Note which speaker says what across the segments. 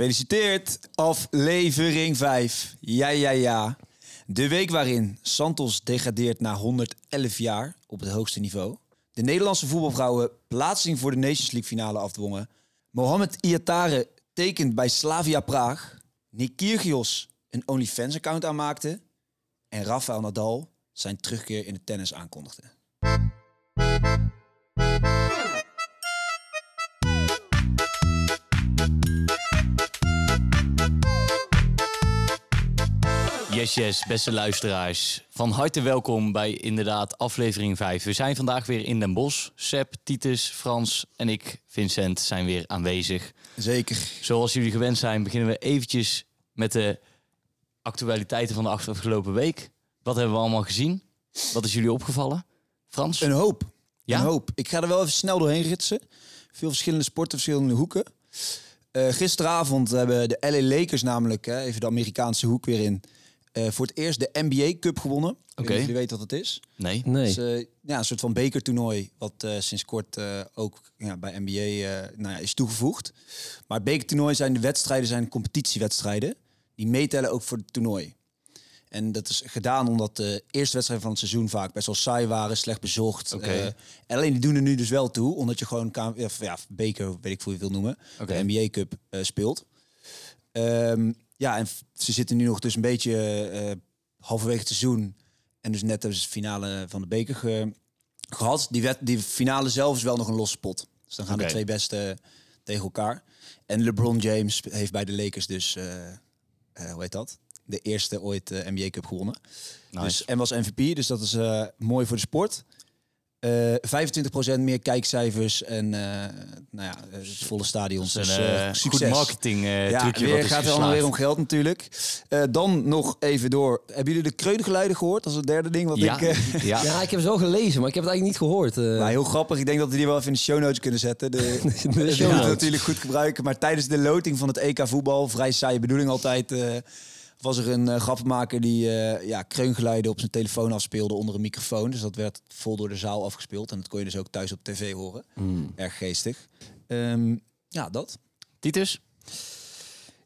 Speaker 1: Gefeliciteerd, aflevering 5. Ja, ja, ja. De week waarin Santos degradeert na 111 jaar op het hoogste niveau. De Nederlandse voetbalvrouwen plaatsing voor de Nations League finale afdwongen. Mohamed Iatare tekent bij Slavia Praag. Nick Kyrgios een OnlyFans-account aanmaakte. En Rafael Nadal zijn terugkeer in het tennis aankondigde.
Speaker 2: Yes, yes, beste luisteraars. Van harte welkom bij inderdaad aflevering 5. We zijn vandaag weer in Den Bosch. Seb, Titus, Frans en ik, Vincent, zijn weer aanwezig.
Speaker 1: Zeker.
Speaker 2: Zoals jullie gewend zijn, beginnen we eventjes met de actualiteiten van de afgelopen week. Wat hebben we allemaal gezien? Wat is jullie opgevallen? Frans?
Speaker 1: Een hoop.
Speaker 2: Ja?
Speaker 1: Een hoop. Ik ga er wel even snel doorheen ritsen. Veel verschillende sporten, verschillende hoeken. Eh, gisteravond hebben de LA Lakers namelijk, hè, even de Amerikaanse hoek weer in, eh, voor het eerst de NBA Cup gewonnen. Ik weet
Speaker 2: Oké.
Speaker 1: niet of jullie weten wat dat is.
Speaker 2: Nee.
Speaker 3: Nee.
Speaker 1: Dus, eh, ja, een soort van bekertoernooi, wat eh, sinds kort eh, ook ja, bij NBA eh, nou ja, is toegevoegd. Maar bekertoernooi zijn de wedstrijden, zijn competitiewedstrijden. Die meetellen ook voor het toernooi. En dat is gedaan omdat de eerste wedstrijden van het seizoen vaak best wel saai waren, slecht bezocht.
Speaker 2: Oké.
Speaker 1: Eh, en alleen die doen er nu dus wel toe, omdat je gewoon K- of, ja, beker, weet ik hoe je het wil noemen,
Speaker 2: Oké.
Speaker 1: de NBA Cup eh, speelt. Ehm, ja, en f- ze zitten nu nog dus een beetje eh, halverwege het seizoen. En dus net hebben ze de finale van de beker ge- gehad. Die, wed- die finale zelf is wel nog een losse pot. Dus dan gaan
Speaker 2: Oké.
Speaker 1: de twee beste tegen elkaar. En LeBron James heeft bij de Lakers dus, eh, eh, hoe heet dat? De eerste ooit eh, NBA Cup gewonnen.
Speaker 2: Nice.
Speaker 1: Dus, en was MVP, dus dat is eh, mooi voor de sport. Eh 25% meer kijkcijfers en eh, nou ja, eh, volle stadions.
Speaker 2: een
Speaker 1: Dus,
Speaker 2: eh,
Speaker 1: eh,
Speaker 2: goed
Speaker 1: succes.
Speaker 2: marketing eh,
Speaker 1: Ja,
Speaker 2: trucje wat
Speaker 1: weer
Speaker 2: is
Speaker 1: gaat het allemaal
Speaker 2: geslaagd.
Speaker 1: weer om geld natuurlijk. Eh, dan nog even door. Hebben jullie de kreungeluiden gehoord? Dat is het derde ding wat
Speaker 2: Ja,
Speaker 1: ik... eh,
Speaker 2: ja.
Speaker 3: Ja, ik heb ze wel gelezen, maar ik heb het eigenlijk niet gehoord. eh.
Speaker 1: maar heel grappig. Ik denk dat we die wel even in de show notes kunnen zetten. De,
Speaker 3: De show
Speaker 1: die moeten we
Speaker 3: notes.
Speaker 1: natuurlijk goed gebruiken. Maar tijdens de loting van het EK voetbal, vrij saaie bedoeling altijd... eh, was er een eh, grappenmaker die eh, ja, kreungeluiden op zijn telefoon afspeelde onder een microfoon. Dus dat werd vol door de zaal afgespeeld. En dat kon je dus ook thuis op tv horen.
Speaker 2: Hmm.
Speaker 1: Erg geestig. Ehm, ja, dat.
Speaker 2: Titus?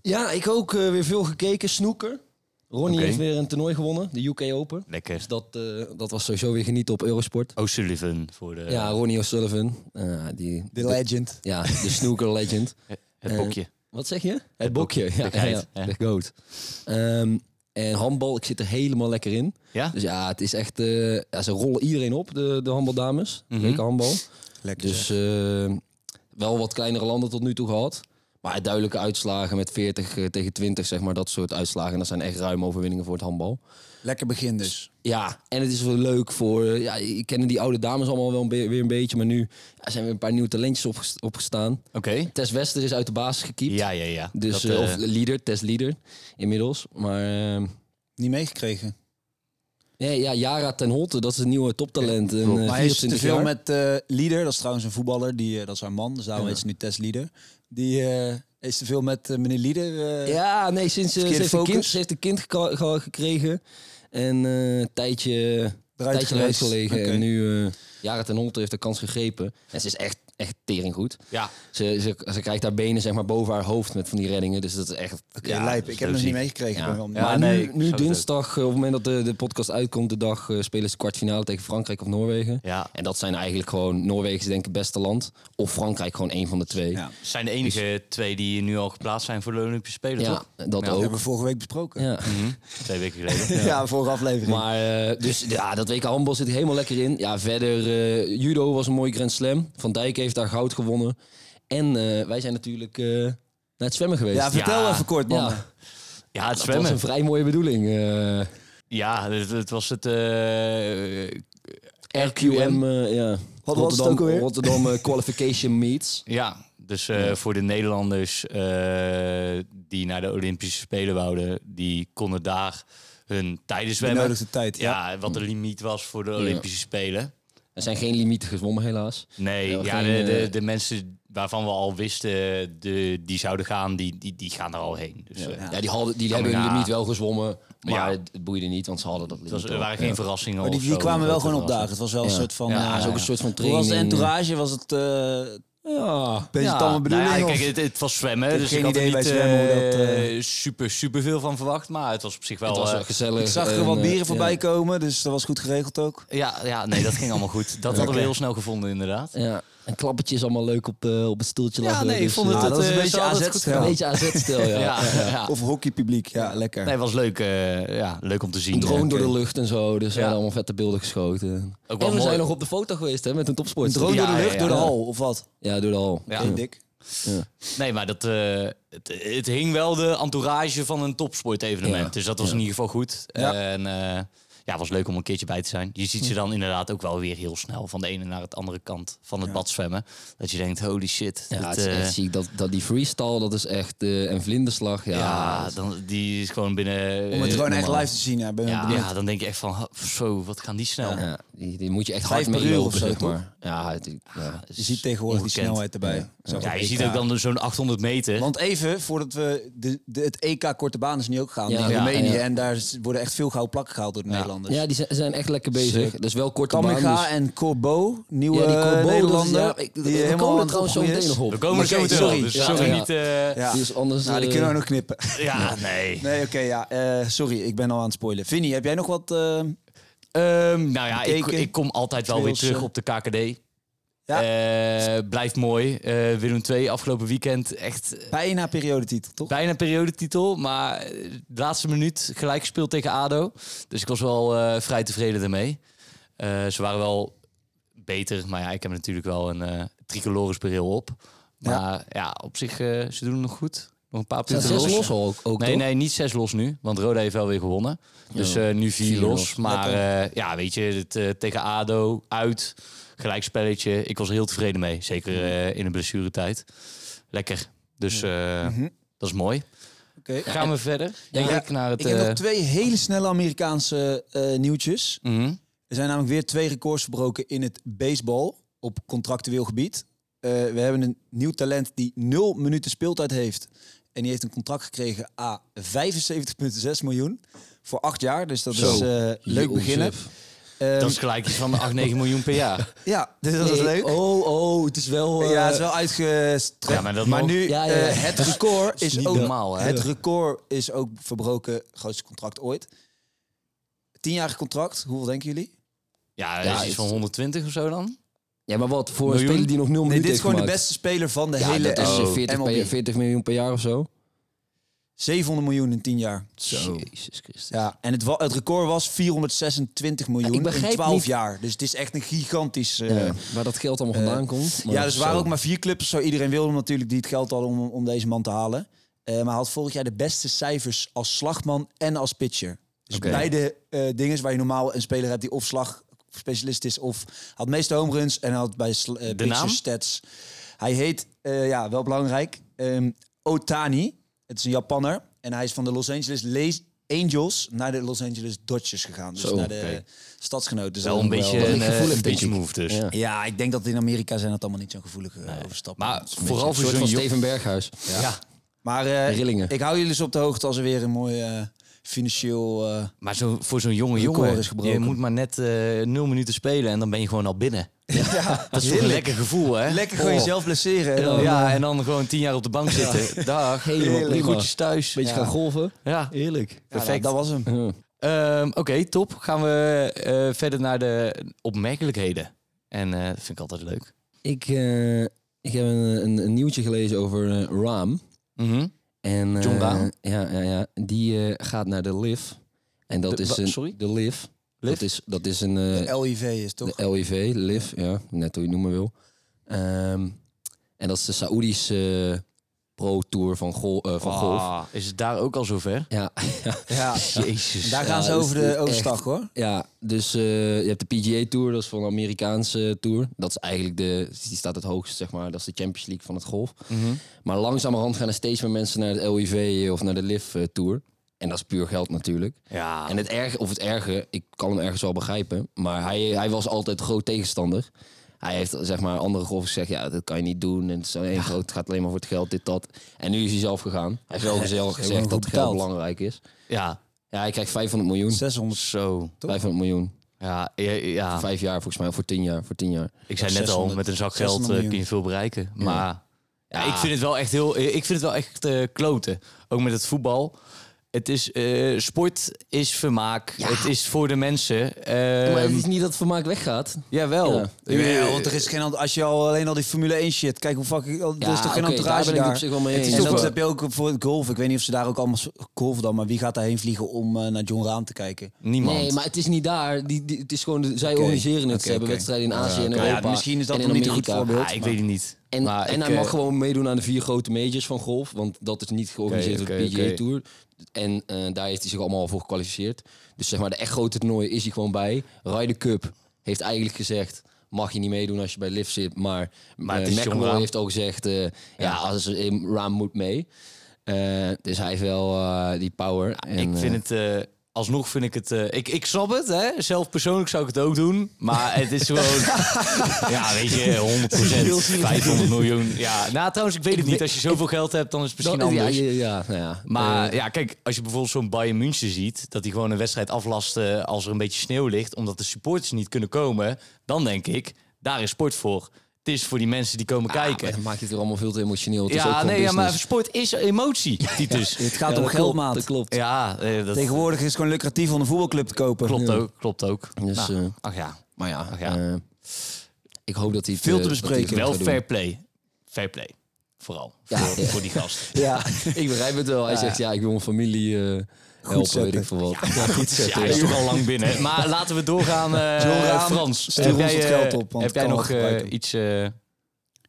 Speaker 3: Ja, ik ook eh, weer veel gekeken. Snoeker. Ronnie
Speaker 2: Oké.
Speaker 3: heeft weer een toernooi gewonnen, de UK Open.
Speaker 2: Lekker.
Speaker 3: Dus dat, eh, dat was sowieso weer genieten op Eurosport.
Speaker 2: O'Sullivan voor de,
Speaker 3: Ja, Ronnie O'Sullivan. eh, die,
Speaker 1: The Legend.
Speaker 3: ja, de snoeker legend.
Speaker 1: eh,
Speaker 2: het bokje.
Speaker 3: Wat zeg je? Het bokje. Ja,
Speaker 2: de geit,
Speaker 3: ja,
Speaker 2: hè?
Speaker 3: de goat. Ehm, en handbal, ik zit er helemaal lekker in.
Speaker 2: Ja?
Speaker 3: Dus ja, het is echt... eh, ja, ze rollen iedereen op, de, de handbaldames.
Speaker 2: Mhm.
Speaker 3: Lekker handbal.
Speaker 1: Lekker.
Speaker 3: Dus eh, wel wat kleinere landen tot nu toe gehad. Maar duidelijke uitslagen met 40 eh, tegen 20, zeg maar, dat soort uitslagen. En dat zijn echt ruime overwinningen voor het handbal.
Speaker 1: Lekker begin dus.
Speaker 3: Ja, en het is wel leuk voor... eh, Ja, ik kennen die oude dames allemaal wel een be- weer een beetje. Maar nu ja, zijn weer een paar nieuwe talentjes opges- opgestaan.
Speaker 2: Oké.
Speaker 3: Tess Wester is uit de basis gekiept.
Speaker 2: Ja, ja, ja.
Speaker 3: Dus,
Speaker 2: Dat,
Speaker 3: eh,
Speaker 2: eh,
Speaker 3: of leader, Tess leader inmiddels. Maar eh,
Speaker 1: Niet meegekregen.
Speaker 3: nee, ja, Jara ten Holte, dat is een nieuwe toptalent. Een,
Speaker 2: klopt.
Speaker 3: eh,
Speaker 1: Maar hij is
Speaker 3: 24
Speaker 1: te veel
Speaker 3: jaar.
Speaker 1: met eh Leader. Dat is trouwens een voetballer. Die, eh, dat is haar man. Dus daarom
Speaker 3: Ja.
Speaker 1: heet ze nu Tess Leader. Die eh, is te veel met eh, meneer Leader. eh,
Speaker 3: Ja, nee, sinds eh, ze,
Speaker 1: Verkeerde
Speaker 3: heeft een
Speaker 1: focus.
Speaker 3: kind, ze heeft een kind geka- ge- gekregen. En eh, een tijdje eruit tijdje eruit
Speaker 1: geweest.
Speaker 3: gelegen.
Speaker 1: Oké.
Speaker 3: En nu, eh Jaren ten Holte heeft de kans gegrepen. En ze is echt, echt tering goed.
Speaker 2: ja.
Speaker 3: Ze, ze, ze krijgt haar benen zeg maar, boven haar hoofd met van die reddingen. Dus dat is echt...
Speaker 1: Oké,
Speaker 2: Ja,
Speaker 1: lijp.
Speaker 2: dat is
Speaker 1: Ik heb hem nog niet
Speaker 2: logisch.
Speaker 1: meegekregen.
Speaker 3: Ja.
Speaker 1: Ik ben wel-
Speaker 2: Ja,
Speaker 3: maar
Speaker 2: nee, ik
Speaker 3: nu, nu
Speaker 2: snap het
Speaker 3: dinsdag, eh, op het moment dat de, de podcast uitkomt, de dag eh, spelen ze de kwartfinale tegen Frankrijk of Noorwegen.
Speaker 2: ja.
Speaker 3: En dat zijn eigenlijk gewoon, Noorwegen is denk ik het beste land. Of Frankrijk gewoon één van de twee.
Speaker 1: Ja.
Speaker 2: Het zijn de enige twee die nu al geplaatst zijn voor de Olympische Spelen,
Speaker 3: Ja,
Speaker 2: toch?
Speaker 3: dat
Speaker 2: Ja.
Speaker 1: Dat
Speaker 3: ook.
Speaker 1: hebben we vorige week besproken.
Speaker 3: Ja.
Speaker 2: Twee weken geleden.
Speaker 1: Ja, vorige aflevering.
Speaker 3: Maar eh, dus ja, dat WK handbal zit er helemaal lekker in. Ja, verder eh, judo was een mooie Grand Slam. Van Dijk heeft daar goud gewonnen. En eh, wij zijn natuurlijk eh, naar het zwemmen geweest.
Speaker 1: ja, vertel
Speaker 2: Ja.
Speaker 1: even kort, man.
Speaker 3: Ja,
Speaker 2: Ja, het
Speaker 3: dat was
Speaker 2: zwemmen.
Speaker 3: een vrij mooie bedoeling. eh,
Speaker 2: Ja, het, het was het... eh,
Speaker 3: RQM, eh, ja.
Speaker 1: het
Speaker 3: Rotterdam,
Speaker 1: ook alweer?
Speaker 3: Rotterdam eh, Qualification Meets.
Speaker 2: ja, dus eh, voor de Nederlanders eh, die naar de Olympische Spelen wouden, die konden daar hun tijden
Speaker 1: De
Speaker 2: zwemmen.
Speaker 1: nodige tijd. Ja.
Speaker 2: Ja, wat de limiet was voor de Olympische Spelen.
Speaker 3: Er zijn geen limieten gezwommen helaas.
Speaker 2: Nee,
Speaker 3: Ja,
Speaker 2: ja,
Speaker 3: geen,
Speaker 2: de, de,
Speaker 3: eh,
Speaker 2: de mensen waarvan we al wisten de, die zouden gaan, die, die, die gaan er al heen. Dus, eh,
Speaker 3: Ja, die, hadden, die
Speaker 2: Ja,
Speaker 3: hebben
Speaker 2: maar
Speaker 3: hun
Speaker 2: ja.
Speaker 3: limiet wel gezwommen, maar
Speaker 2: Ja.
Speaker 3: het het boeide niet, want ze hadden dat
Speaker 2: het
Speaker 3: limiet
Speaker 2: was, er
Speaker 3: al.
Speaker 2: waren geen verrassingen.
Speaker 1: Maar die,
Speaker 2: of
Speaker 1: die
Speaker 2: Oh, zo,
Speaker 1: kwamen wel
Speaker 2: grote
Speaker 1: gewoon opdagen.
Speaker 2: verrassingen.
Speaker 1: Het was wel een
Speaker 3: Ja.
Speaker 1: soort van...
Speaker 2: Ja,
Speaker 1: eh,
Speaker 2: is ook een
Speaker 3: soort van
Speaker 1: Hoe was de
Speaker 3: training.
Speaker 1: entourage? Was het eh,
Speaker 3: Ja.
Speaker 1: Beetje
Speaker 2: Ja,
Speaker 1: tamme
Speaker 2: nou ja,
Speaker 1: bedoeling. of-
Speaker 2: kijk, het, het was zwemmen,
Speaker 1: heb
Speaker 2: dus
Speaker 1: geen
Speaker 2: ik had er
Speaker 1: idee bij
Speaker 2: niet
Speaker 1: zwemmen hoe
Speaker 2: eh,
Speaker 1: dat, eh,
Speaker 2: super, super veel van verwacht. Maar het was op zich wel...
Speaker 3: Het was
Speaker 2: eh,
Speaker 3: wel gezellig.
Speaker 1: ik zag
Speaker 3: en,
Speaker 1: er wat
Speaker 3: eh,
Speaker 1: bieren
Speaker 3: ja.
Speaker 1: voorbij komen, dus dat was goed geregeld ook.
Speaker 2: ja, ja, nee, dat ging allemaal goed. Dat hadden we heel snel gevonden, inderdaad.
Speaker 3: Ja. En klappertje is allemaal leuk op, eh, op het stoeltje
Speaker 2: Ja,
Speaker 3: lachen.
Speaker 2: nee, ik
Speaker 3: dus,
Speaker 2: vond
Speaker 3: eh,
Speaker 2: het...
Speaker 1: ja, dat
Speaker 2: eh,
Speaker 1: is een
Speaker 2: ze
Speaker 1: beetje
Speaker 2: hadden het
Speaker 1: AZ
Speaker 2: goed
Speaker 1: stijl.
Speaker 3: een
Speaker 2: gedaan.
Speaker 3: beetje AZ-stel, ja.
Speaker 2: Ja, ja.
Speaker 1: Of hockeypubliek, ja, lekker.
Speaker 2: Nee, was leuk, eh, ja, leuk om te zien. eh.
Speaker 3: Een drone
Speaker 2: Ja,
Speaker 3: door de
Speaker 2: oké.
Speaker 3: lucht en zo. Dus we
Speaker 2: Ja.
Speaker 3: hebben allemaal vette beelden geschoten.
Speaker 2: wel
Speaker 3: en we
Speaker 2: mooi.
Speaker 3: zijn nog op de foto geweest hè, met een
Speaker 1: een
Speaker 3: topsport.
Speaker 1: drone
Speaker 2: Ja,
Speaker 1: door de
Speaker 2: ja,
Speaker 1: lucht,
Speaker 2: ja.
Speaker 1: door de
Speaker 2: Ja.
Speaker 1: hal, of wat?
Speaker 3: Ja, door de hal.
Speaker 2: Ja.
Speaker 1: Heel dik.
Speaker 2: Nee, maar dat, eh, het, het hing wel de entourage van een topsportevenement.
Speaker 3: Ja.
Speaker 2: Dus dat was in ieder geval goed.
Speaker 1: Ja.
Speaker 2: En eh, ja, was leuk om een keertje bij te zijn. Je ziet ze dan inderdaad ook wel weer heel snel van de ene naar het andere kant van het bad zwemmen. Dat je denkt, holy shit.
Speaker 3: Ja,
Speaker 2: dit,
Speaker 3: het is
Speaker 2: eh,
Speaker 3: echt ziek. Dat, dat die freestyle, dat is echt... eh, en vlinderslag, ja.
Speaker 2: ja, dan, die is gewoon binnen...
Speaker 1: Om het
Speaker 2: eh,
Speaker 1: gewoon echt
Speaker 3: normaal.
Speaker 1: live te zien, ja, ben
Speaker 2: ja,
Speaker 1: benieuwd.
Speaker 2: ja, dan denk je echt van, ha, zo, wat gaan die snel.
Speaker 3: Ja, die, die moet je echt
Speaker 1: Vijf
Speaker 3: hard
Speaker 1: per
Speaker 3: mee
Speaker 1: uur
Speaker 3: lopen,
Speaker 1: of zo,
Speaker 3: zeg
Speaker 1: toch? Ah,
Speaker 3: maar. Ja, het, ja.
Speaker 1: Je ziet tegenwoordig die
Speaker 2: Ongekend.
Speaker 1: snelheid erbij. Zo
Speaker 2: Ja,
Speaker 1: van
Speaker 2: je
Speaker 1: EK.
Speaker 2: ziet ook dan zo'n 800 meter.
Speaker 1: Want even, voordat we... De, de, het EK Korte Baan is nu ook gaan
Speaker 3: Ja,
Speaker 1: in
Speaker 3: ja,
Speaker 1: Roemenië.
Speaker 3: ja.
Speaker 1: En daar is- worden echt veel gouden plakken gehaald door de Nederlanders.
Speaker 3: Ja, die zijn, zijn echt lekker bezig.
Speaker 1: Sick.
Speaker 3: Dus wel korte baan.
Speaker 1: Kamega
Speaker 3: dus-
Speaker 1: en Corbo, nieuwe
Speaker 3: Ja, die Corbeau, dat is-
Speaker 1: Nederlander.
Speaker 3: ja, ik- we komen
Speaker 1: aan
Speaker 3: er
Speaker 1: het
Speaker 3: trouwens zo
Speaker 1: opgroeien
Speaker 3: meteen
Speaker 1: is.
Speaker 3: nog op.
Speaker 2: We komen
Speaker 1: Maar
Speaker 2: er zo
Speaker 1: oké,
Speaker 2: meteen
Speaker 1: sorry,
Speaker 2: wel, dus
Speaker 1: sorry.
Speaker 2: laten we
Speaker 3: Ja.
Speaker 2: niet... eh, ja.
Speaker 1: Ja.
Speaker 3: Die is anders...
Speaker 1: Nou, die
Speaker 3: eh,
Speaker 1: kunnen we nog knippen.
Speaker 2: nee.
Speaker 1: Nee, oké, ja. eh, sorry, ik ben al aan het spoilen. Vinnie, heb jij nog wat... eh,
Speaker 2: Ehm, nou ja, ik,
Speaker 1: Bekeken.
Speaker 2: ik kom altijd wel weer
Speaker 1: Trails,
Speaker 2: terug
Speaker 1: eh.
Speaker 2: op de KKD.
Speaker 1: Ja.
Speaker 2: Eh, blijft mooi. Eh Willem 2 afgelopen weekend echt
Speaker 1: bijna periodetitel, toch?
Speaker 2: bijna periodetitel. Maar eh, de laatste minuut gelijk gespeeld tegen ADO. Dus ik was wel eh, vrij tevreden daarmee. Eh, ze waren wel beter. Maar ja, ik heb natuurlijk wel een eh tricolores bril op. Maar ja, op zich, eh, ze doen het nog goed. Nog een paar
Speaker 3: zijn
Speaker 2: punten
Speaker 3: zes
Speaker 2: los.
Speaker 3: los ook, ook
Speaker 2: Nee,
Speaker 3: toch?
Speaker 2: nee, niet zes los nu. Want Roda heeft wel weer gewonnen. Dus eh, nu vier,
Speaker 3: Vier
Speaker 2: los.
Speaker 3: los.
Speaker 2: Maar
Speaker 1: Lekker.
Speaker 2: eh, ja, weet je, het, eh, tegen ADO, uit, gelijkspelletje. Ik was er heel tevreden mee. Zeker eh, in de blessuretijd. Lekker. Dus eh, dat is mooi.
Speaker 1: Oké.
Speaker 2: Gaan we verder, denk
Speaker 1: Ja,
Speaker 2: ik, naar het...
Speaker 1: Ik heb nog
Speaker 2: eh,
Speaker 1: twee hele snelle Amerikaanse eh, nieuwtjes.
Speaker 2: mhm.
Speaker 1: Er zijn namelijk weer twee records verbroken in het baseball op contractueel gebied. Eh, we hebben een nieuw talent die nul minuten speeltijd heeft. En die heeft een contract gekregen A 75,6 miljoen voor acht jaar. Dus dat
Speaker 3: Zo.
Speaker 1: is eh, leuk
Speaker 3: Jezus.
Speaker 1: beginnen. Ehm,
Speaker 2: Dat is gelijk iets van 8, 9 miljoen per jaar.
Speaker 1: Ja, dus dat is
Speaker 3: Nee,
Speaker 1: leuk.
Speaker 3: Oh, oh, het is wel... eh,
Speaker 1: ja, het is wel uitgestrekt.
Speaker 2: Ja, maar dat nog-
Speaker 1: nu,
Speaker 3: Ja, ja,
Speaker 1: eh,
Speaker 3: ja.
Speaker 1: het record
Speaker 2: is
Speaker 1: is,
Speaker 2: niet
Speaker 1: ook
Speaker 2: normaal, hè?
Speaker 1: Het record is ook verbroken, grootste contract ooit. Tienjarig contract, hoeveel denken jullie?
Speaker 2: Ja, dat
Speaker 3: Ja,
Speaker 2: is iets
Speaker 3: is-
Speaker 2: van 120 of zo dan.
Speaker 3: Ja, maar wat? Voor een
Speaker 2: Miljoen?
Speaker 3: speler die nog nul
Speaker 1: Nee,
Speaker 3: minuten
Speaker 1: dit is
Speaker 3: heeft
Speaker 1: gewoon de
Speaker 3: gemaakt.
Speaker 1: beste speler van de
Speaker 3: Ja,
Speaker 1: hele
Speaker 3: dat is eh,
Speaker 2: Oh.
Speaker 3: 40,
Speaker 1: MLB.
Speaker 3: per- 40 miljoen per jaar of zo.
Speaker 1: 700 miljoen in 10 jaar.
Speaker 3: Jezus Christus.
Speaker 1: Ja, en het, wa- het record was 426 miljoen
Speaker 3: Ja, ik begrijp
Speaker 1: in 12
Speaker 3: niet-
Speaker 1: jaar. Dus het is echt een gigantisch... eh,
Speaker 3: Ja, waar dat geld allemaal vandaan komt.
Speaker 1: ja, dus er waren
Speaker 3: zo.
Speaker 1: ook maar vier clubs. Zo iedereen wilde hem natuurlijk die het geld hadden om, om deze man te halen. Eh, maar hij had vorig jaar de beste cijfers als slagman en als pitcher. Dus
Speaker 3: Oké.
Speaker 1: beide eh dingen waar je normaal een speler hebt die of slagspecialist is... of had de meeste home runs en hij had bij sl- eh, pitcher
Speaker 2: naam?
Speaker 1: stats. Hij heet, eh, ja, wel belangrijk, ehm, Otani. Het is een Japanner. En hij is van de Los Angeles Le- Angels naar de Los Angeles Dodgers gegaan. Dus
Speaker 3: Zo,
Speaker 1: naar de
Speaker 2: oké.
Speaker 1: stadsgenoot. Dus
Speaker 2: Wel
Speaker 1: dat
Speaker 2: een
Speaker 1: is nog
Speaker 2: beetje
Speaker 1: wel-
Speaker 2: een,
Speaker 3: ik
Speaker 2: eh,
Speaker 3: gevoel heb,
Speaker 2: een
Speaker 3: denk
Speaker 2: beetje
Speaker 3: ik.
Speaker 2: move dus.
Speaker 3: Ja.
Speaker 1: ja, ik denk dat in Amerika zijn dat allemaal niet zo'n gevoelige eh, overstappen.
Speaker 2: Maar
Speaker 1: Dat is een beetje-
Speaker 2: vooral
Speaker 3: Een
Speaker 2: voor
Speaker 3: soort
Speaker 2: zo'n
Speaker 3: van
Speaker 2: jong-
Speaker 3: Steven Berghuis.
Speaker 2: Ja.
Speaker 1: maar eh,
Speaker 3: Rillingen.
Speaker 1: ik hou jullie dus op de hoogte als er weer een mooi eh, financieel... eh,
Speaker 2: Maar zo, voor zo'n jonge
Speaker 1: Record
Speaker 2: jongen,
Speaker 1: is
Speaker 2: je
Speaker 1: gebroken.
Speaker 2: moet maar net eh, nul minuten spelen en dan ben je gewoon al binnen. dat is toch een
Speaker 1: heerlijk.
Speaker 2: lekker gevoel, hè?
Speaker 1: lekker gewoon
Speaker 2: Oh.
Speaker 1: jezelf blesseren. en
Speaker 2: Ja,
Speaker 1: dan,
Speaker 2: ja,
Speaker 1: eh,
Speaker 2: en dan gewoon tien jaar op de bank zitten. Dag,
Speaker 3: Helemaal
Speaker 2: helemaal
Speaker 3: prima.
Speaker 2: goedjes thuis.
Speaker 3: Beetje
Speaker 2: ja.
Speaker 3: gaan golven.
Speaker 2: Ja,
Speaker 3: Heerlijk.
Speaker 1: perfect.
Speaker 2: perfect.
Speaker 1: nou, dat was hem.
Speaker 2: Ehm, Oké, top. Gaan we eh, verder naar de opmerkelijkheden. En eh, dat vind ik altijd leuk.
Speaker 3: Ik, eh, ik heb een, een, een nieuwtje gelezen over eh, Raam.
Speaker 2: Mhm.
Speaker 3: En, eh,
Speaker 2: John Rahm?
Speaker 3: Ja, ja, ja. Die eh, gaat naar de LIV. En dat
Speaker 2: De
Speaker 3: is
Speaker 2: wa-
Speaker 3: een...
Speaker 2: sorry?
Speaker 3: De LIV.
Speaker 2: Liv?
Speaker 3: Dat is, dat is een... eh,
Speaker 1: De LIV is toch?
Speaker 3: De LIV, LIV, ja, net hoe je het noemen wil. Ehm, en dat is de Saoedische pro-tour van, gol- eh, van golf.
Speaker 2: Ah, is het daar ook al zover?
Speaker 3: Ja, ja,
Speaker 1: Ja,
Speaker 2: Jezus.
Speaker 1: daar gaan
Speaker 3: Ja,
Speaker 1: ze
Speaker 3: dat
Speaker 1: over
Speaker 3: is
Speaker 1: de
Speaker 3: echt-
Speaker 1: overstag hoor.
Speaker 3: ja, dus eh, je hebt de PGA Tour, dat is van de Amerikaanse tour. Dat is eigenlijk de, die staat het hoogst, zeg maar. Dat is de Champions League van het golf.
Speaker 2: Mhm.
Speaker 3: Maar langzamerhand gaan er steeds meer mensen naar het LIV of naar de LIV eh, Tour. En dat is puur geld natuurlijk.
Speaker 2: Ja.
Speaker 3: En het erge, of het erge, ik kan hem ergens wel begrijpen, maar hij, hij was altijd groot tegenstander. Hij heeft zeg maar andere golfers gezegd, ja, dat kan je niet doen. En het, is alleen groot, het gaat alleen maar voor het geld, dit, dat. En nu is hij zelf gegaan. Hij heeft wel zelf
Speaker 1: helemaal
Speaker 3: gezegd
Speaker 1: goed
Speaker 3: dat geld
Speaker 1: betaald.
Speaker 3: belangrijk is.
Speaker 2: ja,
Speaker 3: Ja, hij krijgt 500 miljoen.
Speaker 1: 600.
Speaker 2: zo.
Speaker 3: 500 miljoen.
Speaker 2: Ja, ja, ja.
Speaker 1: Ah.
Speaker 3: Voor vijf jaar volgens mij, of voor tien jaar. Voor tien jaar.
Speaker 2: ik zei
Speaker 1: Ja,
Speaker 2: net al,
Speaker 1: 600
Speaker 2: met een zak geld
Speaker 1: 600
Speaker 2: eh, kun
Speaker 1: miljoen.
Speaker 2: je veel bereiken. Maar ja. ik
Speaker 3: Ja.
Speaker 2: vind het wel echt heel, ik vind het wel echt eh, kloten. Ook met het voetbal. Het is, eh, sport is vermaak. Het is voor de mensen. Ehm,
Speaker 3: maar het is niet dat het vermaak weggaat.
Speaker 2: Jawel.
Speaker 3: Ja.
Speaker 1: Ja, want er is geen hand- als je al alleen al die Formule 1 shit, kijk hoe fucking er
Speaker 3: Ja,
Speaker 1: is toch geen
Speaker 3: oké, daar
Speaker 1: entourage
Speaker 3: ben
Speaker 1: daar.
Speaker 3: ik op zich wel mee
Speaker 1: Het is
Speaker 3: eens.
Speaker 1: en
Speaker 2: Toch
Speaker 1: dat
Speaker 2: wel.
Speaker 1: heb je ook voor het golf. Ik weet niet of ze daar ook allemaal golf dan, maar wie gaat daarheen vliegen om eh, naar John Raam te kijken?
Speaker 2: Niemand.
Speaker 3: Nee, maar het is niet daar. Die, die- het is gewoon, de- zij
Speaker 1: Oké.
Speaker 3: organiseren het.
Speaker 1: Oké,
Speaker 3: Ze hebben
Speaker 1: oké.
Speaker 3: wedstrijden in Azië en
Speaker 1: oké. Ja,
Speaker 3: Europa.
Speaker 1: misschien is dat
Speaker 3: en in
Speaker 1: nog niet een goed
Speaker 3: Amerika.
Speaker 1: voorbeeld.
Speaker 2: Ah, ik weet het niet.
Speaker 3: En,
Speaker 2: maar
Speaker 3: en
Speaker 2: ik,
Speaker 3: hij
Speaker 2: eh,
Speaker 3: mag gewoon meedoen aan de vier grote majors van golf. Want dat is niet georganiseerd
Speaker 2: Oké,
Speaker 3: door de
Speaker 2: oké,
Speaker 3: PGA
Speaker 2: oké.
Speaker 3: Tour. En eh, daar heeft hij zich allemaal voor gekwalificeerd. Dus zeg maar, de echt grote toernooien is hij gewoon bij. Ryder Cup heeft eigenlijk gezegd... mag je niet meedoen als je bij Liv zit. Maar,
Speaker 2: Maar
Speaker 3: maar
Speaker 2: het is John Rahm.
Speaker 3: heeft ook gezegd... eh, ja. als eh, Raam moet mee. Eh, dus hij heeft wel eh, die power. En,
Speaker 2: ik
Speaker 3: eh,
Speaker 2: vind het... eh, Alsnog vind ik het... eh, ik, ik snap het, hè. Zelf persoonlijk zou ik het ook doen. Maar het is gewoon... ja, weet je, 100 500 miljoen. Ja, nou, trouwens, ik weet het niet. Als je zoveel geld hebt, dan is het misschien
Speaker 3: dat- ja,
Speaker 2: anders.
Speaker 3: ja, ja, nou ja.
Speaker 2: Maar ja, kijk, als je bijvoorbeeld zo'n Bayern München ziet... dat die gewoon een wedstrijd aflast eh, als er een beetje sneeuw ligt... omdat de supporters niet kunnen komen... dan denk ik, daar is sport voor. Het is voor die mensen die komen
Speaker 3: Ah,
Speaker 2: kijken.
Speaker 3: maar dan maak je het er allemaal veel te emotioneel. Het is ook
Speaker 2: ja,
Speaker 3: gewoon
Speaker 2: nee, ja, maar
Speaker 3: business.
Speaker 2: sport is emotie, Titus.
Speaker 1: Het gaat
Speaker 3: Ja,
Speaker 1: om
Speaker 3: dat
Speaker 1: geld,
Speaker 3: klopt,
Speaker 1: maat.
Speaker 3: Dat klopt.
Speaker 2: Ja, eh, dat
Speaker 1: Tegenwoordig is het gewoon lucratief om een voetbalclub te kopen.
Speaker 2: klopt
Speaker 1: Ja.
Speaker 2: ook. Klopt ook.
Speaker 3: Dus,
Speaker 2: Nou,
Speaker 3: eh,
Speaker 2: ach ja,
Speaker 3: Maar ja,
Speaker 2: Ach ja.
Speaker 3: eh, ik hoop dat hij het,
Speaker 1: Veel te
Speaker 3: eh, dat hij het
Speaker 1: bespreken.
Speaker 3: goed
Speaker 2: wel
Speaker 3: gaat
Speaker 2: fair play. Fair play. Vooral.
Speaker 3: Ja,
Speaker 2: voor,
Speaker 3: ja.
Speaker 2: voor die gast.
Speaker 1: Ja,
Speaker 3: doen. Ik begrijp het wel. Hij zegt ja, ik wil mijn familie eh, helpen,
Speaker 1: zetten.
Speaker 3: weet ik veel wat. Ja, goed
Speaker 2: Ja, hij is toch al lang binnen. Maar laten we doorgaan. eh,
Speaker 1: John Raam,
Speaker 2: Frans,
Speaker 1: stuur
Speaker 2: heb
Speaker 1: ons
Speaker 2: jij,
Speaker 1: het
Speaker 2: eh,
Speaker 1: geld op, want het
Speaker 2: heb jij
Speaker 1: kan
Speaker 2: nog
Speaker 1: wel
Speaker 2: eh,
Speaker 1: gebruiken.
Speaker 2: iets eh,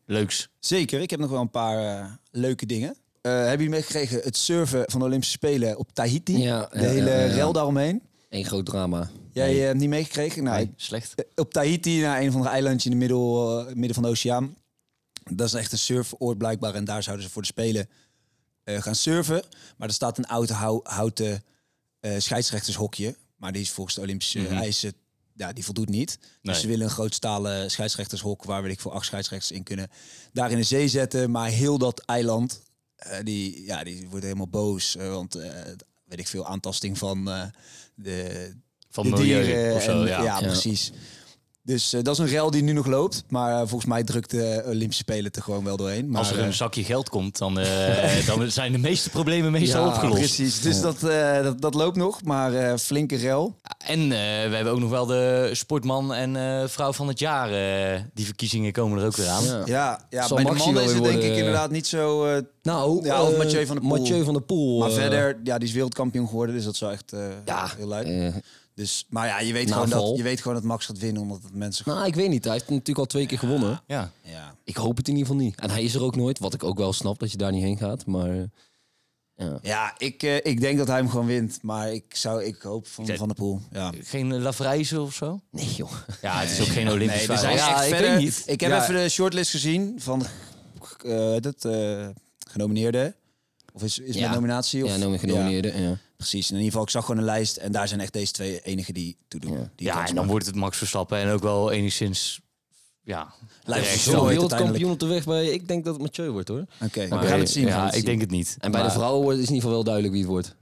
Speaker 2: leuks?
Speaker 1: zeker. Ik heb nog wel een paar eh, leuke dingen. Eh, hebben jullie meegekregen het surfen van de Olympische Spelen op Tahiti?
Speaker 3: Ja,
Speaker 1: de
Speaker 3: ja,
Speaker 1: hele
Speaker 3: ja, ja.
Speaker 1: rel daaromheen.
Speaker 3: Eén groot drama.
Speaker 1: Jij
Speaker 3: Nee.
Speaker 1: eh, hebt niet meegekregen? Nou, ik-
Speaker 2: Nee, slecht.
Speaker 1: op Tahiti, naar een van de eilandjes in het middel, eh, midden van de oceaan. Dat is echt een surfoord blijkbaar. En daar zouden ze voor de Spelen eh, gaan surfen. Maar er staat een oud hou- houten eh, scheidsrechtershokje. Maar die is volgens de Olympische eisen, ja, die voldoet niet.
Speaker 2: Nee.
Speaker 1: Dus ze willen een groot stalen scheidsrechtershok... waar weet ik voor acht scheidsrechters in kunnen. Daar in de zee zetten. Maar heel dat eiland, eh, die, ja, die wordt helemaal boos. eh, want, eh, weet ik veel, aantasting van eh, de,
Speaker 2: Van
Speaker 1: de
Speaker 2: milieu
Speaker 1: dieren
Speaker 2: of zo,
Speaker 1: en-
Speaker 2: ja.
Speaker 1: ja, precies. Dus eh, dat is een rel die nu nog loopt. Maar eh, volgens mij drukt de Olympische Spelen het er gewoon wel doorheen. Maar,
Speaker 2: Als er een
Speaker 1: eh,
Speaker 2: zakje geld komt, dan, eh, dan zijn de meeste problemen meestal
Speaker 1: ja,
Speaker 2: opgelost.
Speaker 1: Precies, dus dat, eh, dat, dat loopt nog. Maar eh, flinke rel.
Speaker 2: En eh, we hebben ook nog wel de sportman en eh, vrouw van het jaar. eh, die verkiezingen komen er ook weer aan.
Speaker 3: Ja.
Speaker 1: Ja, ja
Speaker 3: Zal
Speaker 1: bij de
Speaker 3: Maxi
Speaker 1: mannen
Speaker 3: wel
Speaker 1: is het
Speaker 3: weer
Speaker 1: denk ik
Speaker 3: worden-
Speaker 1: inderdaad niet zo... eh,
Speaker 3: Nou,
Speaker 1: Ja, of
Speaker 3: eh,
Speaker 1: Mathieu van der Poel.
Speaker 3: Mathieu van der Poel.
Speaker 1: maar
Speaker 3: eh,
Speaker 1: verder, ja, die is wereldkampioen geworden. Dus dat zou echt eh,
Speaker 3: Ja,
Speaker 1: heel leuk.
Speaker 3: eh,
Speaker 1: dus, maar ja, je weet,
Speaker 3: na
Speaker 1: gewoon dat,
Speaker 3: val.
Speaker 1: je weet gewoon dat Max gaat winnen. Omdat het mensen...
Speaker 3: nou, ik weet niet. Hij heeft natuurlijk al twee keer gewonnen.
Speaker 2: Ja.
Speaker 1: Ja.
Speaker 3: Ik hoop het in ieder geval niet. En hij is er ook nooit, wat ik ook wel snap dat je daar niet heen gaat. Maar eh,
Speaker 1: Ja, ik, eh, ik denk dat hij hem gewoon wint. Maar ik, zou, ik hoop van
Speaker 2: denk-
Speaker 1: Van der Poel. Ja.
Speaker 2: Geen lafrijzen of zo?
Speaker 3: nee joh.
Speaker 2: Ja, het is ook geen Olympisch
Speaker 3: Dus
Speaker 1: Nee, er zijn
Speaker 2: verhaal.
Speaker 1: echt
Speaker 2: ja,
Speaker 1: verder-
Speaker 2: ik weet niet.
Speaker 1: Ik heb
Speaker 2: Ja,
Speaker 1: even de shortlist gezien van eh dat eh genomineerde. Of is, is
Speaker 3: Ja.
Speaker 1: mijn nominatie? Of,
Speaker 3: Ja, nou, genomineerde. Ja.
Speaker 1: Ja, precies. In ieder geval, ik zag gewoon een lijst. En daar zijn echt deze twee enigen die toedoen.
Speaker 3: Ja.
Speaker 1: Die
Speaker 2: ja,
Speaker 1: kans
Speaker 2: en dan
Speaker 1: maken.
Speaker 2: wordt het Max Verstappen en ook wel enigszins... Ja,
Speaker 1: Lijkt
Speaker 2: terecht.
Speaker 1: me
Speaker 3: Zo'n
Speaker 1: Zo heet het
Speaker 3: wereldkampioen op de weg bij. Ik denk dat het Mathieu wordt hoor.
Speaker 1: Oké,
Speaker 2: Maar-
Speaker 1: we gaan het zien.
Speaker 2: Ja,
Speaker 1: We gaan het
Speaker 2: ik
Speaker 1: zien.
Speaker 2: denk het niet.
Speaker 3: En bij de vrouwen wordt- is in ieder geval wel duidelijk wie het wordt.